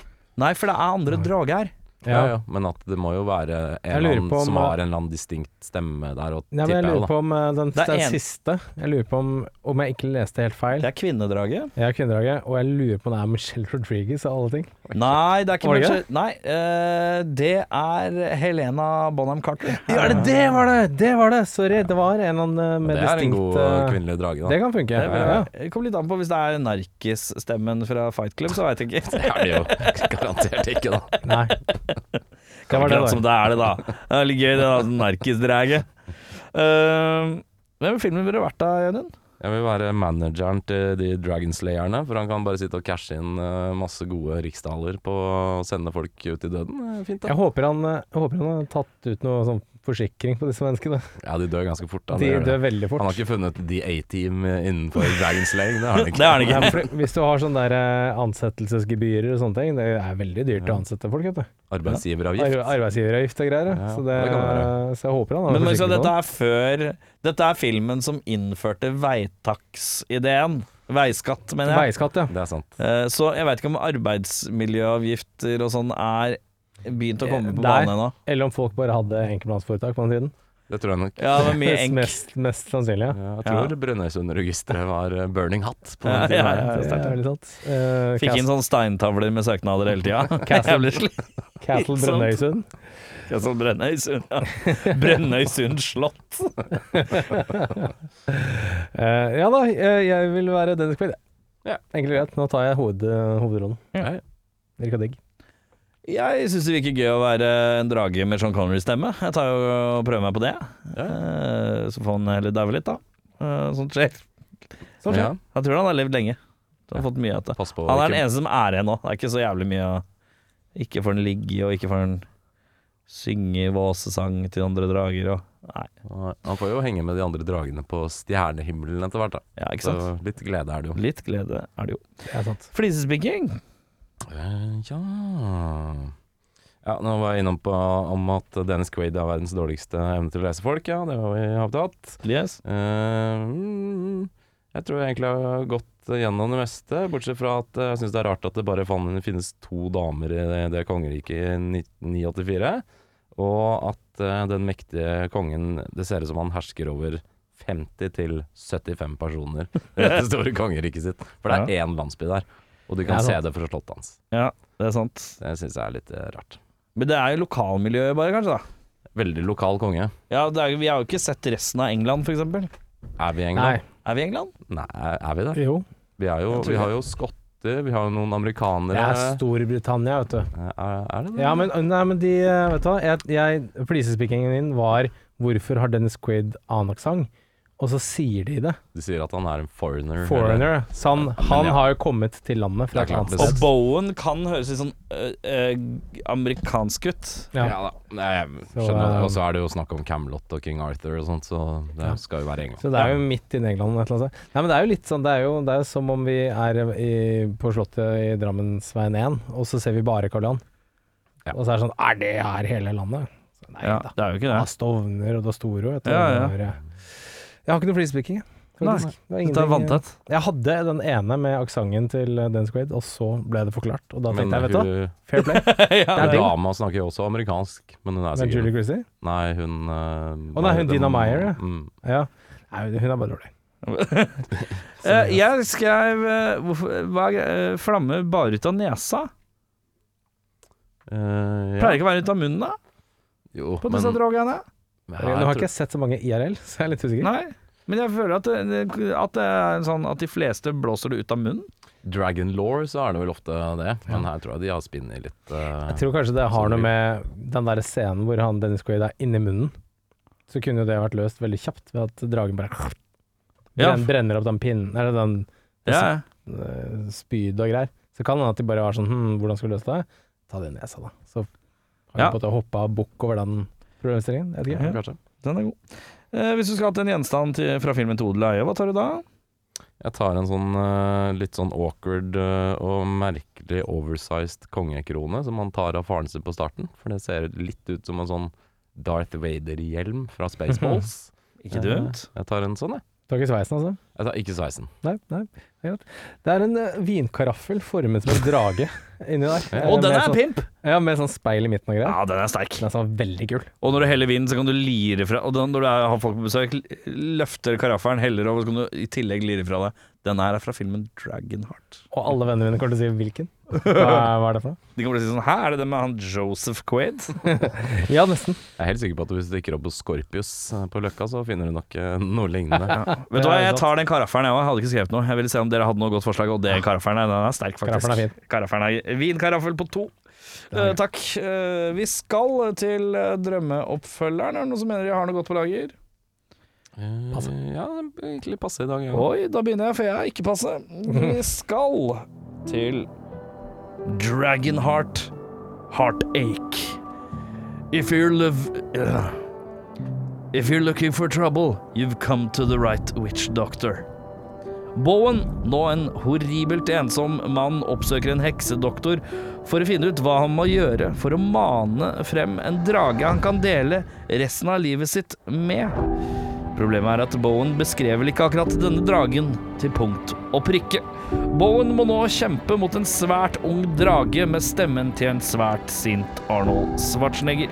S1: Nei, for det er andre drage her.
S2: Ja, ja, men at det må jo være en
S3: Jeg
S2: eller
S3: lurer
S2: annen
S3: på om-
S2: som har en eller annen distinkt stemme der, og tipper
S3: Nei, men jeg
S2: jeg,
S3: lurer
S2: da.
S3: på om eh, den,
S1: Det er
S3: den
S1: en-
S3: siste Jeg lurer på om, om jeg ikke leste helt feil.
S1: Det er kvinnedraget.
S3: Jeg er kvinnedraget, og jeg lurer på om det er Michelle Rodriguez av alle ting.
S1: Nei, det er ikke
S3: Var det
S1: Manchester Nei, eh, det er Helena Bonham Carter.
S3: Ja, det, det var det! Det var det! Sorry, det var en eller annen eh,
S2: Det
S3: med
S2: er en
S3: distinkt
S2: god
S3: eh,
S2: kvinnelig drage, da.
S3: Det kan funke.
S1: Det
S3: Ja,
S1: vil
S3: ja.
S1: jeg- Det kommer litt an på hvis det er narkisstemmen fra Fight Club, så veit jeg ikke.
S2: Det er det jo garantert ikke, da.
S3: Nei. Det var det,
S1: Akkurat som
S3: da.
S1: det er det, da. Det er litt gøy, det da, narkisdraget. Uh, hvem i filmen ville vært da, Jørund?
S2: Jeg vil være manageren til de Dragonslayerne, for han kan bare sitte og cashe inn eh, masse gode riksdaler på å sende folk ut i døden. Det er Fint, da.
S3: Jeg håper han, eh, jeg håper han har tatt ut noe sånn forsikring på disse menneskene.
S2: Ja, de dør ganske fort. Da,
S3: De
S2: det gjør det.
S3: dør veldig
S2: Han
S3: fort.
S2: har ikke funnet The A-Team innenfor Dragonslaying, det har han
S1: Det
S2: ikke.
S1: er det
S3: Nei,
S1: ikke.
S3: for hvis du har sånne der eh, ansettelsesgebyrer og sånne ting, det er veldig dyrt å ansette folk, vet du.
S2: Arbeidsgiveravgift.
S3: Ar- Arbeidsgiveravgift og greier.
S2: Ja,
S3: Ja, så, det,
S2: det kan være.
S3: så jeg håper han har
S1: Men, men så
S3: forsikring på
S1: dette
S3: det.
S1: er før Dette er filmen som innførte veitaks-ideen. Veiskatt, mener jeg.
S3: Veiskatt, ja.
S2: Det er sant.
S1: Eh, Så jeg veit ikke om arbeidsmiljøavgifter og sånn er begynt å komme på
S3: Eh, Nei.
S1: banen ennå.
S3: Eller om folk bare hadde enkeltmannsforetak på den tiden.
S2: Det tror jeg nok.
S1: Ja, det var mye enk.
S3: Mest, mest sannsynlig, ja.
S2: Ja, Jeg tror Brønnøysundregisteret var eh, burning hat på den
S1: Ja, ja,
S2: tiden.
S1: ja.
S2: her.
S3: Det er veldig sant. Eh,
S1: Fikk inn sånn steintavler med søknader hele tida.
S3: Castle-
S1: Jævlig slitt.
S2: sånn
S3: Cas- Castle
S1: sant.
S3: Brønnøysund.
S1: Sånn Brønnøysund. Ja. Brønnøysund slott.
S3: Eh, ja da, eh, jeg vil være Dennis Quaid.
S2: Ja.
S3: Enkelt og greit. Nå tar jeg hoved, eh, hovedrollen.
S2: Ja, ja.
S3: Virka digg.
S1: Jeg syns det virker gøy å være en drage med Sean Connery-stemme. Jeg tar jo og prøver meg på det. Eh, Så får han heller daue litt, da. Eh, Sånt skjer.
S3: Sånn
S2: Ja,
S3: skjer.
S1: Jeg tror han har levd lenge. Han har fått mye av det.
S2: pass på.
S1: Han er
S2: Kim.
S1: den eneste som er igjen nå. Det er ikke så jævlig mye å Ikke får han ligge, og ikke får han synge våsesang til andre drager, og Nei.
S2: Han får jo henge med de andre dragene på stjernehimmelen etter hvert, da.
S1: Ja, ikke
S2: Så
S1: sant?
S2: litt glede er det jo.
S1: Litt glede er det jo.
S3: Det er sant.
S1: Flisespikking.
S2: Eh, ja Ja, nå var jeg innom på om at Dennis Quaid har verdens dårligste evne til å lese folk, ja, det har vi avtalt.
S1: Yes.
S2: Eh, mm, jeg tror jeg egentlig jeg har gått gjennom det meste, bortsett fra at eh, jeg syns det er rart at det bare fan- finnes to damer i det, det kongeriket i 1984, og at eh, den mektige kongen Det ser ut som han hersker over 50 til 75 personer i dette store kongeriket sitt. For det er én landsby der, og du kan
S3: Ja,
S2: se
S3: sant.
S2: det fra slottet hans.
S1: Ja, det er sant.
S2: Det syns jeg er litt eh, rart.
S1: Men det er jo lokalmiljøet, bare, kanskje, da.
S2: Veldig lokal konge.
S1: Ja, det er, Vi har jo ikke sett resten av England, for eksempel
S2: Er vi i
S3: Nei.
S2: England?
S1: Er vi i England?
S2: Nei. er vi det?
S3: Jo.
S2: Vi, er jo, vi har jo skotter, vi har jo noen
S3: Det
S2: amerikanere Eh,
S3: er Storbritannia, vet du.
S2: Er, er det det?
S3: Ja, men, nei, men de eh, Vet du hva, jeg, jeg flisespikkingen min var 'Hvorfor har Dennis Quaid annen aksent?' Og så sier de det.
S2: De sier at han er en foreigner. eller-
S3: Foreigner. Så han, han
S2: ja.
S3: har jo kommet til landet fra
S2: Det er
S3: et
S2: klart,
S3: annet
S2: det
S1: Og
S2: Yes.
S3: sted.
S1: Bowen kan høres litt sånn øh, øh, amerikansk ut.
S2: Ja.
S3: Ja.
S2: da. Nei, jeg
S3: Så,
S2: skjønner det.
S3: eh,
S2: Og så er det jo snakk om Camelot og King Arthur og sånt, så
S3: Ja.
S2: det skal jo være England.
S3: Så det er jo midt inne i England et eller annet sted. Nei, men det er jo litt sånn Det er jo, det er jo som om vi er i, på Slottet i Drammensveien 1, og så ser vi bare Karl Johan.
S2: Ja.
S3: Og så er det sånn Er det her hele landet? Så, nei
S1: Ja,
S3: da. Altså,
S1: det er jo ikke
S3: Det
S1: det.
S3: er Stovner og det er Storo. vet du.
S1: Ja, ja.
S3: Det er- Jeg har ikke noe flisespikking, faktisk. Det var
S1: Dette er
S3: ingenting-
S1: vanntett.
S3: Jeg hadde den ene med aksenten til eh, Dance Quaid, og så ble det forklart. Og da tenkte jeg, vet du hva,
S2: hun,
S3: fair play.
S1: ja.
S3: Det er digg.
S2: dama snakker jo også amerikansk, men hun er
S3: Med
S2: sikkert
S3: Julie Christie?
S2: Nei, hun Å
S3: nei, hun Dina Meyer, ja.
S2: Mm.
S3: Ja. Nei, hun er bare dårlig.
S1: Eh, jeg skrev eh, hvorfor- hva, er gre- eh, Flamme bare ut av nesa?
S2: Eh, ja.
S1: Pleier ikke å være ut av munnen, da?
S2: Jo,
S1: På
S2: men
S1: disse drogene?
S2: Ja,
S3: Nå
S2: jeg
S3: har
S2: tror-
S3: ikke jeg sett så mange IRL, så jeg er litt usikker.
S1: Nei. Men jeg føler at eh, det, at det er en sånn at de fleste blåser det ut av munnen.
S2: Dragon Law, så er det vel ofte det. Men her tror jeg de har spinnet litt eh,
S3: Jeg tror kanskje det har noe med den der scenen hvor han Dennis Quaid er inni munnen. Så kunne jo det vært løst veldig kjapt ved at dragen bare brenn,
S1: Ja.
S3: brenner opp den pinnen, eller den
S1: Ja,
S3: eh, spydet og greier. Så kan det hende at de bare var sånn Hm, hvordan skal vi løse det? Ta det i nesa, da. Så har de
S1: Ja.
S3: på en måte hoppa bukk over den problemstillingen. Jeg vet ikke.
S1: Ja.
S2: Kanskje.
S1: den er god. Eh, hvis du skulle hatt en gjenstand til, fra filmen 'Til odel og eie', hva tar du da?
S2: Jeg tar en sånn eh, litt sånn awkward eh, og merkelig oversized kongekrone som han tar av faren sin på starten. For det ser litt ut som en sånn Darth Vader-hjelm fra Spaceballs.
S1: Ikke dumt.
S2: Jeg tar en sånn, jeg.
S3: Tar ikke sveisen, altså?
S2: Jeg tar ikke sveisen.
S3: Nei, nei, det er greit. Det er en eh, vinkaraffel formet som en drage inni der. Eh,
S1: Og den
S3: med
S1: er
S3: sånn-
S1: pimp!
S3: Ja, med sånn speil i midten og greier.
S1: Ja, den er sterk.
S3: Den er sånn veldig kul.
S1: Og når du heller vinen, så kan du lire fra Og da- når du er, har folk på besøk, l- løfter karaffelen, heller over, så kan du i tillegg lire fra deg. Den her er fra filmen Dragonheart.
S3: Og alle vennene mine kommer til å si hvilken. Hva, hva er det for noe?
S1: De kommer til å si sånn Hæ, er det den med han Joseph Quaid?
S3: Ja, nesten.
S2: Jeg er helt sikker på at hvis du stikker opp hos Scorpius eh, på Løkka, så finner du nok eh, noe lignende.
S1: Vet du hva,
S3: Ja,
S1: jeg
S3: sant.
S1: tar den karaffelen, jeg òg. Hadde ikke skrevet noe. Jeg ville se om dere hadde noe godt forslag, og det karaffelen er, den er sterk, faktisk.
S3: Karaffelen er fin.
S1: Karaffelen er Vinkaraffel på to. Eh, takk. Eh, vi skal til eh, drømmeoppfølgeren. Er det noen som mener de har noe godt på lager?
S2: Eh, Ja, egentlig passe i dag. Ja.
S1: Oi, da begynner jeg, for jeg er ikke passe. Vi skal til Dragonheart Heartache. If you're liv... Ugh. If you're looking for trouble, you've come to the right witch doctor. Bowen, nå en horribelt ensom mann, oppsøker en heksedoktor for å finne ut hva han må gjøre for å mane frem en drage han kan dele resten av livet sitt med. Problemet er at Bowen beskrev vel ikke akkurat denne dragen til punkt og prikke. Bowen må nå kjempe mot en svært ung drage med stemmen til en svært sint Arnold Schwarzenegger.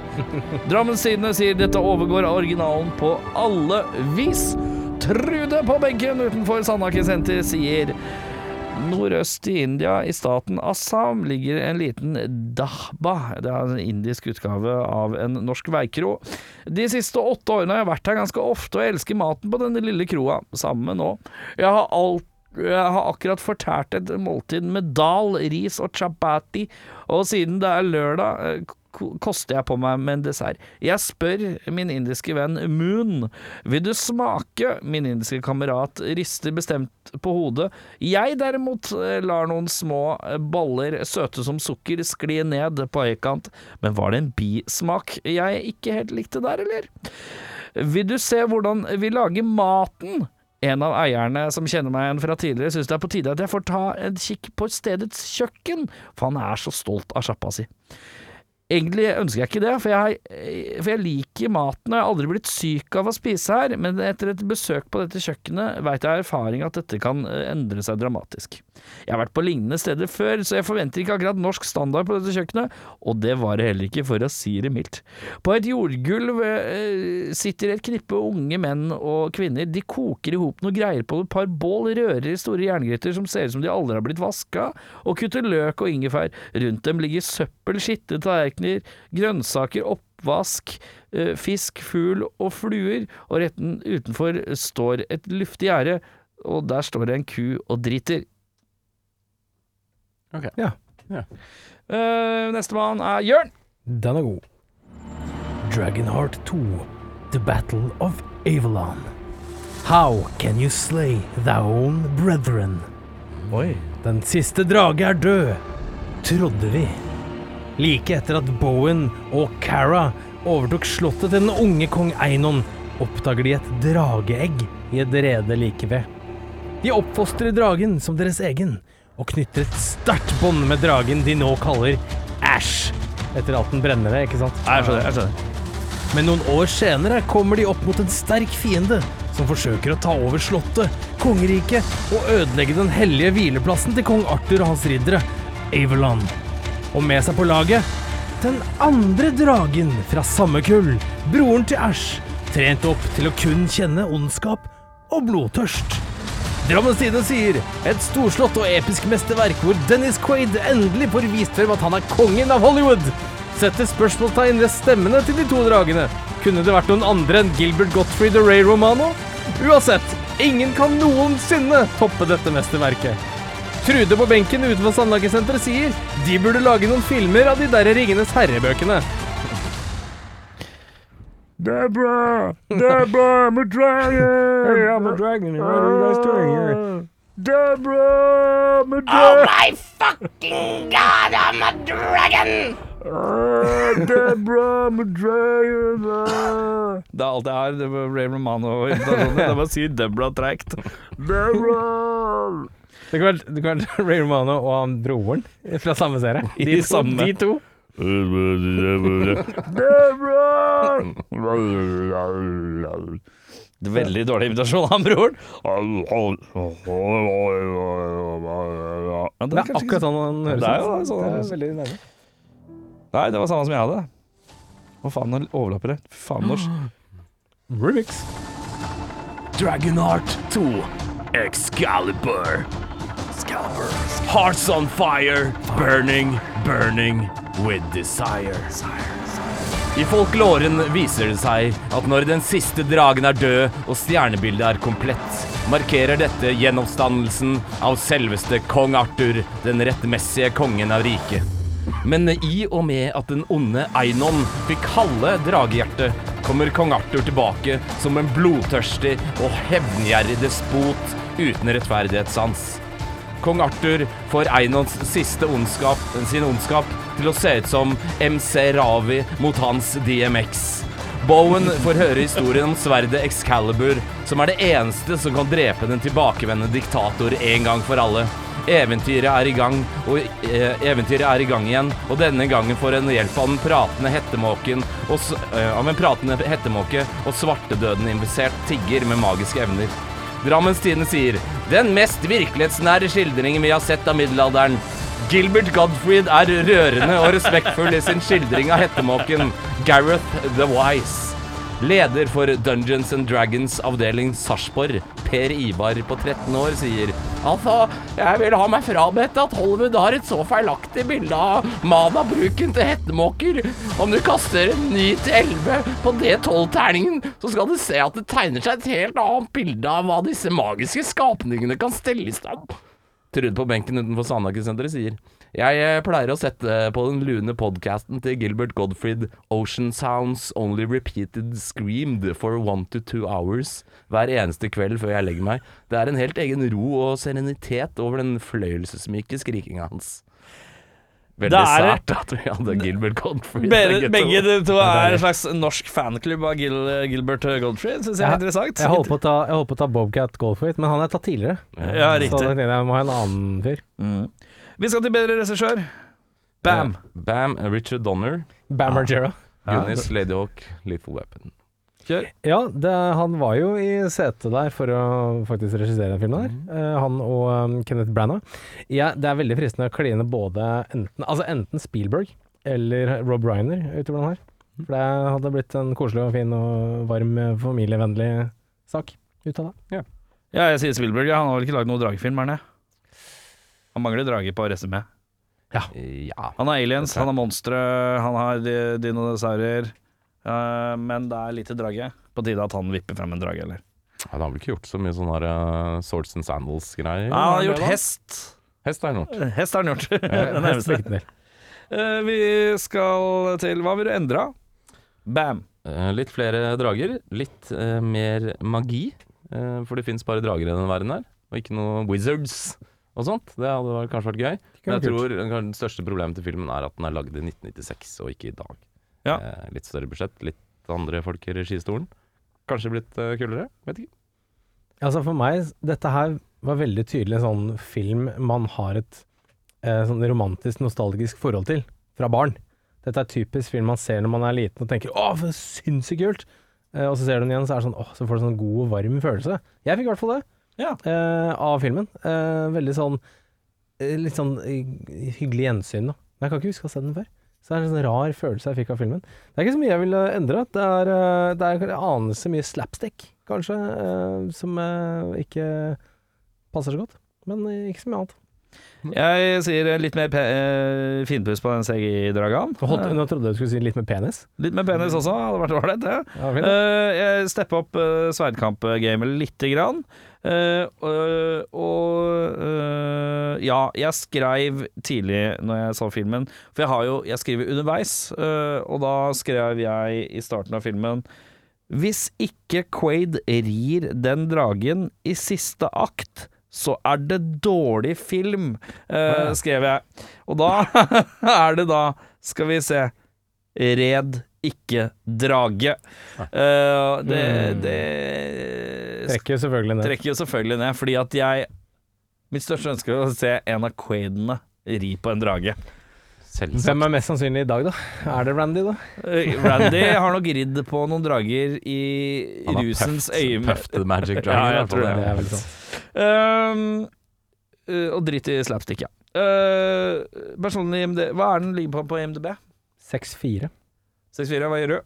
S1: Drammens Tidende sier dette overgår originalen på alle vis. Trude på benken utenfor Sandhaken senter sier Nordøst i India, i staten Assam, ligger en liten dahba. Det er en indisk utgave av en norsk veikro. De siste åtte årene har jeg vært her ganske ofte og elsker maten på denne lille kroa. Samme nå. Jeg har alt jeg har akkurat fortært et måltid med dal, ris og chapati, og siden det er lørdag, eh, ko- koster jeg på meg med en dessert. Jeg spør min indiske venn Moon, vil du smake? Min indiske kamerat rister bestemt på hodet. Jeg derimot eh, lar noen små eh, baller, søte som sukker, skli ned på høykant, men var det en bismak jeg ikke helt likte der, eller? Vil du se hvordan vi lager maten? En av eierne som kjenner meg igjen fra tidligere, syns det er på tide at jeg får ta en kikk på stedets kjøkken, for han er så stolt av sjappa si. Egentlig ønsker jeg ikke det, for jeg, for jeg liker maten, og jeg har aldri blitt syk av å spise her, men etter et besøk på dette kjøkkenet veit jeg av erfaring at dette kan eh, endre seg dramatisk. Jeg har vært på lignende steder før, så jeg forventer ikke akkurat norsk standard på dette kjøkkenet, og det var det heller ikke, for å si det mildt. På et jordgulv eh, sitter et knippe unge menn og kvinner, de koker i hop noe greier på et par bål, rører i store jerngryter som ser ut som de aldri har blitt vaska, og kutter løk og ingefær. Rundt dem ligger søppel, skitne tallerkener, grønnsaker, oppvask, eh, fisk, fugl og fluer, og retten utenfor står et luftig gjerde, og der står det en ku og driter.
S2: Ok.
S3: Ja.
S2: Ja.
S1: Eh, Nestemann er Jørn.
S3: Den er god. Dragonheart 2, The Battle of Avalon. How can you slay thy own brethren? Oi. Den siste drage er død, trodde vi. Like etter at Bowen og Cara overtok slottet til den unge kong Einon, oppdager de et drageegg i et rede like ved. De oppfostrer dragen som deres egen, og knytter et sterkt bånd med dragen de nå kaller Æsj, etter alt den brenner ned, ikke sant?
S1: Jeg skjønner. jeg skjønner.
S3: Men noen år senere kommer de opp mot en sterk fiende som forsøker å ta over slottet, kongeriket og ødelegge den hellige hvileplassen til kong Arthur og hans riddere, Avalon. Og med seg på laget den andre dragen fra samme kull, broren til Æsj, trent opp til å kun kjenne ondskap og blodtørst. Drammens Tidende sier et storslått og episk mesterverk hvor Dennis Quaid endelig får vist frem at han er kongen av Hollywood. Setter spørsmålstegn ved stemmene til de to dragene. Kunne det vært noen andre enn Gilbert Gottfried og Ray Romano? Uansett, ingen kan noensinne toppe dette mesterverket. Trude på benken utenfor Sandhagesenteret sier de burde lage noen filmer av de der Ringenes herrebøkene.
S1: Deborah! Deborah, I'm a dragon! I'm a dragon. What are you guys doing here? Deborah, I'm a dragon!
S4: My fucking god, I'm a dragon!
S1: Deborah, I'm a dragon! Det er alt jeg har. Det var Ray Romano og invitasjoner. Det er bare å si Deborah treigt. Deborah!
S3: Det kan være, det kan være Ray Romano og han broren fra samme serie. De,
S1: I samme.
S3: de to.
S1: Deborah! Veldig dårlig invitasjon av broren. Ja,
S5: Det
S1: den kanskje
S5: er
S1: ikke
S5: akkurat sånn han høres
S1: Det er jo
S5: ut.
S1: sånn han
S5: det
S1: høres
S5: er veldig nærme.
S1: så- Nei, det var samme som jeg hadde. Hva faen, nå overlapper det. Fy faen, norsk.
S5: Remix.
S3: Dragonheart 2 Excalibur. Excalibur. Hearts on fire, burning, burning with desire. I folkloren viser det seg at når den siste dragen er død og stjernebildet er komplett, markerer dette gjenoppstandelsen av selveste kong Arthur, den rettmessige kongen av riket. Men i og med at den onde Einon fikk halve dragehjertet, kommer kong Arthur tilbake som en blodtørstig og hevngjerrig despot uten rettferdighetssans. Kong Arthur får Einons siste ondskap, sin ondskap til å se ut som MC Ravi mot hans DMX. Bowen får høre historien om sverdet Excalibur, som er det eneste som kan drepe den tilbakevendende diktator en gang for alle. Eventyret er i gang, og eh, eventyret er i gang igjen, og denne gangen får en hjelp av den pratende hettemåken og, s- eh, av en pratende hettemåke og svartedøden infisert tigger med magiske evner. Drammens Tidende sier Den mest virkelighetsnære skildringen vi har sett av middelalderen. Gilbert Godfried er rørende og respektfull i sin skildring av hettemåken Gareth the Wise. Leder for Dungeons and Dragons avdeling Sarpsborg, Per Ivar på 13 år, sier Altså, jeg vil ha meg frabedt at Hollywood har et så feilaktig bilde av manabruken til hettemåker. Om du kaster en ny til 11 på D12-terningen, så skal du se at det tegner seg et helt annet bilde av hva disse magiske skapningene kan stelle i stand. Trude på benken utenfor Sandhagen-senteret sier Jeg eh, pleier å sette på den lune podcasten til Gilbert Godfried Ocean Sounds Only Repeated Screamed for one to two hours hver eneste kveld før jeg legger meg. Det er en helt egen ro og serenitet over den fløyelsesmyke skrikinga hans. Veldig
S1: Det er-
S3: sært at vi hadde Gilbert Godfried.
S1: Begge,
S3: begge to.
S1: begge de to er en slags norsk fanklubb av Gil, Gilbert Goldfried. Syns jeg er
S5: Ja,
S1: interessant.
S5: Jeg holdt på å ta, jeg holdt på å ta Bobcat Goldfright, men han er tatt tidligere.
S1: Ja,
S5: Så da
S1: riktig. Mm.
S5: tenkte jeg jeg må ha en annen fyr.
S1: Vi skal til bedre regissør. Bam.
S3: Bam, Richard Donner,
S5: Bam Margera.
S3: Guinness, Ladyhawk, Lethal Weapon.
S1: Kjør.
S5: Ja, det, han var jo i setet der for å faktisk regissere den filmen der. Eh, han og eh, Kenneth Branagh. Ja, det er veldig fristende å kline både enten, altså enten Spielberg eller Rob Reiner utover den her.
S3: Mm.
S5: For det hadde blitt en koselig og fin og varm, eh, familievennlig sak ut av det.
S1: Ja, jeg sier Spielberg. Ja, han har vel ikke lagd noen dragefilm, er han det? Han mangler drage på resumé.
S3: Ja.
S1: Han har aliens, han har monstre, han har di- dinosaurer. eh, men det er lite drage. På tide at han vipper frem en drage, eller?
S3: Ja, Han har vel ikke gjort så mye sånne her, eh, swords and sandals-greier?
S1: Ja, Ah, han har
S3: det
S1: gjort
S3: da?
S1: hest.
S3: Hest har han gjort.
S1: Hest har han gjort. det
S5: Mest
S1: nærmeste.
S5: likte den del.
S1: Eh, vi skal til Hva vil du endre? Bam.
S3: Eh, litt flere drager, litt eh, mer magi. eh, for det fins bare drager i den verden her, og ikke noe wizards og sånt. Det hadde vært- kanskje vært gøy. Men jeg
S5: vært
S3: tror den største problemet til filmen er at den er lagd i 1996, og ikke i dag.
S1: Ja.
S3: Eh, litt større budsjett, litt andre folk i registolen. Kanskje blitt eh, kulere, vet ikke.
S5: Altså for meg, dette her var veldig tydelig en sånn film man har et eh, sånn romantisk, nostalgisk forhold til fra barn. Dette er typisk film man ser når man er liten og tenker 'Å, for sinnssykt kult'. Eh, og så ser du den igjen, så er det sånn åh, så får du sånn god og varm følelse. Jeg fikk i hvert fall det
S1: Ja.
S5: eh, av filmen. Eh, veldig sånn eh, litt sånn eh, hyggelig gjensyn, da. Men jeg kan ikke huske å ha sett den før. Så det er en sånn rar følelse jeg fikk av filmen. Det er ikke så mye jeg ville endre. Det er, eh, det er en anelse mye slapstick, kanskje, eh, som eh, ikke passer så godt. Men eh, ikke så mye annet.
S1: Jeg sier litt mer pe eh, finpuss på den CGI-dragen.
S5: Nå holdt- Nå trodde jeg du skulle si litt med penis.
S1: Eh, litt mer penis også, hadde vært ålreit, det.
S5: Ja, fint.
S1: Eh, jeg stepper opp uh, sverdkamp-gamet lite grann. Eh, og- og eh, ja, jeg skreiv tidlig når jeg så filmen, for jeg har jo Jeg skriver underveis, eh, og da skrev jeg i starten av filmen Hvis ikke Quaid rir den dragen i siste akt, så er det dårlig film, eh, skrev jeg. Og da er det da Skal vi se Red, ikke drage. Eh, det, det
S5: Trekker selvfølgelig ned.
S1: trekker jo selvfølgelig ned, fordi at jeg Mitt største ønske er å se en av quaidene ri på en drage.
S2: Selvsagt.
S5: Hvem er mest sannsynlig i dag, da? Er det Randy, da?
S1: Eh, Randy har nok ridd på noen drager i
S2: Han har
S1: rusens
S2: puffed-
S1: øye.
S2: puffed the magic
S1: Ja,
S2: dragon.
S1: jeg
S2: i hvert fall,
S1: tror
S2: det er
S5: Det er
S2: helt-
S5: vel sånn sant.
S1: Ehm, eh, og dritt i slapstick, ja. Eh, personlig IMD Hva er den ligger på på IMDb?
S5: 6-4.
S1: 6-4, hva gjør du?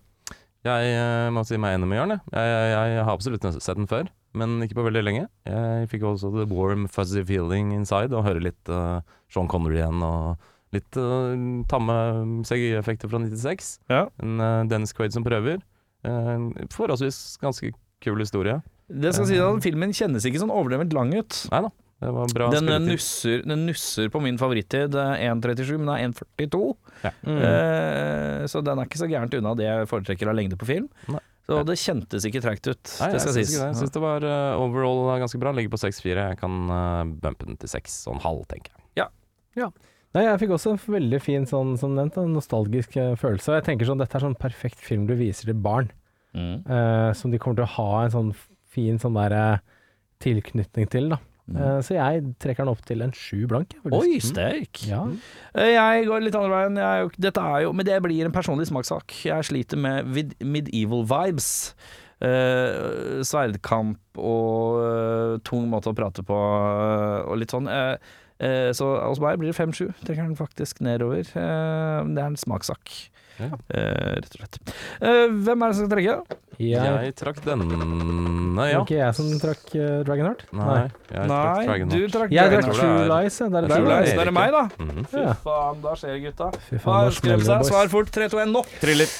S2: Jeg eh, må si meg enig med Jørn. Jeg, jeg, jeg, jeg har absolutt sett den før, men ikke på veldig lenge. Jeg fikk også the warm fuzzy feeling inside, og høre litt eh, Sean Connery igjen, og litt eh, tamme CGI-effekter fra 96.
S1: Ja.
S2: En eh, Dennis Quaid som prøver. Eh, En forholdsvis ganske kul historie.
S1: Det skal si at Filmen kjennes ikke sånn overdrevent lang ut.
S2: Nei da, det var bra
S1: Den eh,
S2: spilletid.
S1: nusser, den nusser på min favorittid, eh, 1,37, men det er 1,42.
S5: Mm.
S2: Mm.
S1: Eh, så den er ikke så gærent unna det jeg foretrekker av lengde på film.
S2: Nei.
S1: Så det kjentes ikke tregt ut,
S2: Nei,
S1: det
S2: jeg
S1: skal
S2: syns
S1: sies.
S2: ikke det. Jeg syns det var eh, overall ganske bra. Ligger på 6-4. Jeg kan eh, bumpe den til 6,5, tenker jeg.
S5: Nei, jeg fikk også en veldig fin sånn, som nevnt, en nostalgisk eh, følelse. Og jeg tenker sånn, dette er sånn perfekt film du viser til barn,
S1: Mm.
S5: eh, som de kommer til å ha en sånn fin sånn der eh, tilknytning til, da.
S2: Mm.
S5: Eh, så jeg trekker den opp til en sju blank. jeg, faktisk. Mm.
S1: Oi, sterk!
S5: Ja.
S1: mm. Eh, Jeg går litt andre veien. Jeg er jo, dette er jo, men det blir en personlig smakssak. Jeg sliter med vid, medieval vibes. Eh, sverdkamp og eh, tung måte å prate på eh, og litt sånn. Eh, eh, så hos meg blir det 5-7. Trekker den faktisk nedover. Eh, det er en smakssak,
S2: Ja.
S1: Eh, rett og slett. Eh, hvem er det som skal trekke?
S5: Jeg,
S2: Jeg trakk denne,
S5: det
S2: ja.
S5: var ikke jeg som trakk uh, Dragonheart.
S2: Nei, jeg trakk
S1: Nei,
S2: Dragon
S1: du
S2: Heart.
S1: trakk
S5: Jeg
S1: Dragon
S5: trakk
S1: Heart.
S2: tror det
S5: True
S2: er-
S5: Lies. ja, Der,
S2: jeg
S1: Det er
S2: tror
S1: jo
S5: der,
S2: det
S1: deg, så det er
S2: Erik,
S1: meg, da.
S2: Mhm.
S1: Fy
S5: Ja.
S1: faen, da skjer det, gutta.
S5: Fy faen,
S1: Hva
S5: nå
S1: ønsker dere
S5: smeller
S1: seg?
S5: det, boys.
S1: Svar fort. 3, 2, 1, nå!
S2: Thriller.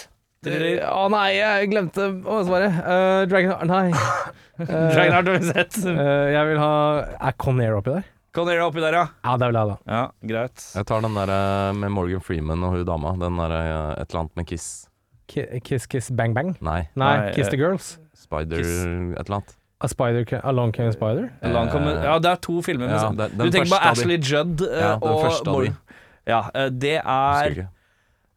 S1: Thriller.
S5: Å nei, jeg glemte å svare. Uh, Dragonheart, nei. Eh,
S1: Dragon Heart har vi sett.
S5: eh, jeg vil ha Er Conair oppi der?
S1: Conera oppi der, ja.
S5: Ja, det vil jeg ha, da.
S1: Ja, greit.
S2: Jeg tar den der eh, med Morgan Freeman og hun dama. Den der eh, et eller annet med Kiss.
S5: Ki- Kiss Kiss Bang Bang?
S2: Nei,
S5: Nei,
S1: Nei,
S5: Kiss
S1: eh,
S5: the Girls.
S2: Spider
S1: Kiss.
S2: et eller annet.
S5: A spider, ca- Along
S1: eh,
S5: Came a Spider.
S1: Lang kommer, ja, det er to filmer med
S2: Eh, Ja,
S1: samme.
S2: den- den
S1: Du tenker på
S2: første av de.
S1: Ashley Judd eh,
S2: Ja, den
S1: og
S2: første av de.
S1: Morgan. Ja, eh, det
S2: Husker
S1: er
S2: ikke.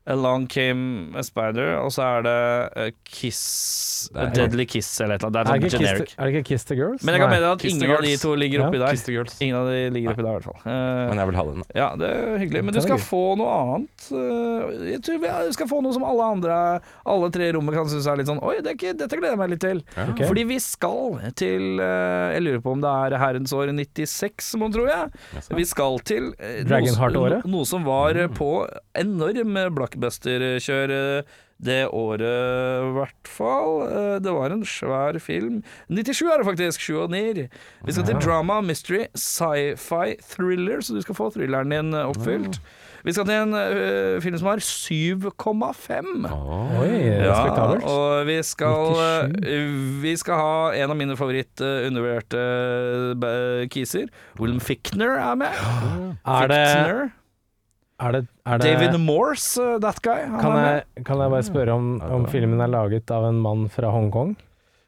S1: Along Came a Spider, og så er det eh, Kiss
S2: Det er-
S1: Deadly Kiss eller et eller
S5: Er
S1: annet.
S5: det,
S1: Det er
S5: ikke
S1: sånn
S5: Kiss
S1: generic.
S5: the, er det ikke Kiss the Girls?
S1: Men jeg kan
S5: Nei.
S1: mene at
S2: Kiss the
S1: ingen av de
S2: Girls.
S1: to ligger
S5: Ja,
S1: oppi der.
S2: Kiss the Girls.
S1: Ingen av de ligger oppi der, i hvert fall. Eh,
S2: Men jeg vil ha den.
S1: ja, det er hyggelig. Men du
S5: Den er
S1: skal
S5: gøy.
S1: få noe annet. Eh, Jeg tror vi jeg skal få noe som alle andre, alle tre i rommet kan synes er litt sånn Oi, det er ikke, dette gleder jeg meg litt til.
S2: Ja.
S5: Ok.
S1: Fordi vi skal til eh, Jeg lurer på om det er herrens år 96, må tro jeg.
S2: Yes,
S1: Vi skal til eh,
S5: Dragonheart-året?
S1: Noe, noe som var eh, på enorm blockbuster-kjør eh, det året, i hvert fall. Eh, Det var en svær film. 97 er det faktisk. 7 og 9. Vi skal til drama, mystery, sci-fi, thriller, så du skal få thrilleren din eh, oppfylt. Vi skal til en eh, film som har 7,5.
S2: Åh.
S5: Oi, respektabelt.
S1: og vi skal,
S5: 97.
S1: eh, vi skal ha en av mine eh, favoritt-undervurderte eh, kiser. William Fickner er med.
S5: er det,
S1: Fichtner.
S5: er det, er det
S1: David Morse, uh, that guy. Han
S5: kan
S1: er med.
S5: jeg, kan jeg bare spørre om, om filmen er laget av en mann fra Hongkong?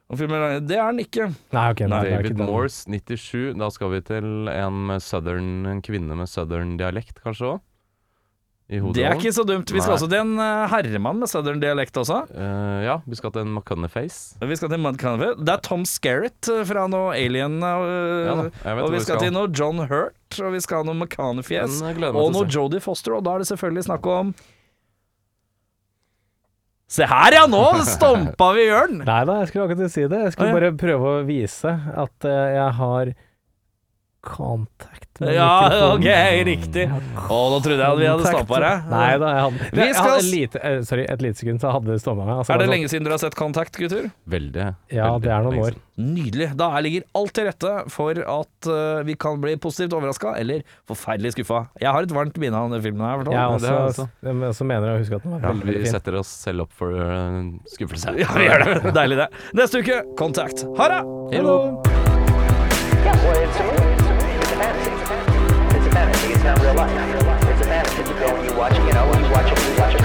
S1: Og filmen er lang- Det er han ikke.
S5: Nei, ok. Nei, det er ikke
S2: David
S5: den.
S2: Morse, 97. Da skal vi til en, med southern, en kvinne med southern dialekt, kanskje òg. I hodet.
S1: Det er ikke så dumt. Vi skal
S2: Nei.
S1: også til en uh, herremann med southern dialekt også.
S2: Eh, ja, vi skal til en McCunnaface.
S1: Vi skal til Mud Canvey. Det er Tom Skerritt uh, fra noe Alien.
S2: Ja, da,
S1: Uh,
S2: jeg vet
S1: og
S2: hvor
S1: vi skal til noe John Hurt, og vi skal ha noe McConaughey-fjes.
S2: Men uh, jeg eh, gleder meg
S1: Og
S2: til å
S1: noe
S2: se.
S1: Jodie Foster, og da er det selvfølgelig snakk om Se her, ja! Nå stompa vi Jørn!
S5: Nei da, jeg skulle akkurat si det. Jeg skulle
S1: Å, ja.
S5: bare prøve å vise at eh, jeg har contact med
S1: Ja,
S5: mikrofonen.
S1: OK, riktig. Å, nå trodde jeg at vi hadde stampa deg.
S5: Nei da, jeg hadde,
S1: Vi
S5: jeg
S1: skal
S5: hadde
S1: s-
S5: et lite, eh, sorry, et lite sekund, så hadde det stompa meg. Altså,
S1: Er det
S5: bare
S1: lenge siden dere har sett Kontakt, gutter?
S2: Veldig.
S5: Ja,
S2: veldig
S5: det er noen
S2: lenge
S5: år.
S2: siden.
S1: Nydelig. Da ligger alt til rette for at eh, vi kan bli positivt overraska eller forferdelig skuffa. Jeg har et varmt minne av denne filmen. her for
S5: sånn- Jeg
S1: ja.
S2: Ja, det er
S5: også, jeg også mener jeg å huske at den var
S2: Ja,
S5: veldig,
S2: vi
S5: veldig fin.
S2: setter oss selv opp for uh, skuffelse.
S1: ja, vi gjør det. Deilig, det. Neste uke, Kontakt. Ha det!
S4: Yeah, well, it's a movie. It's a fantasy. It's a fantasy. It's not real life. It's a fantasy. It's a girl you watch, you know, you watch it, you watch it.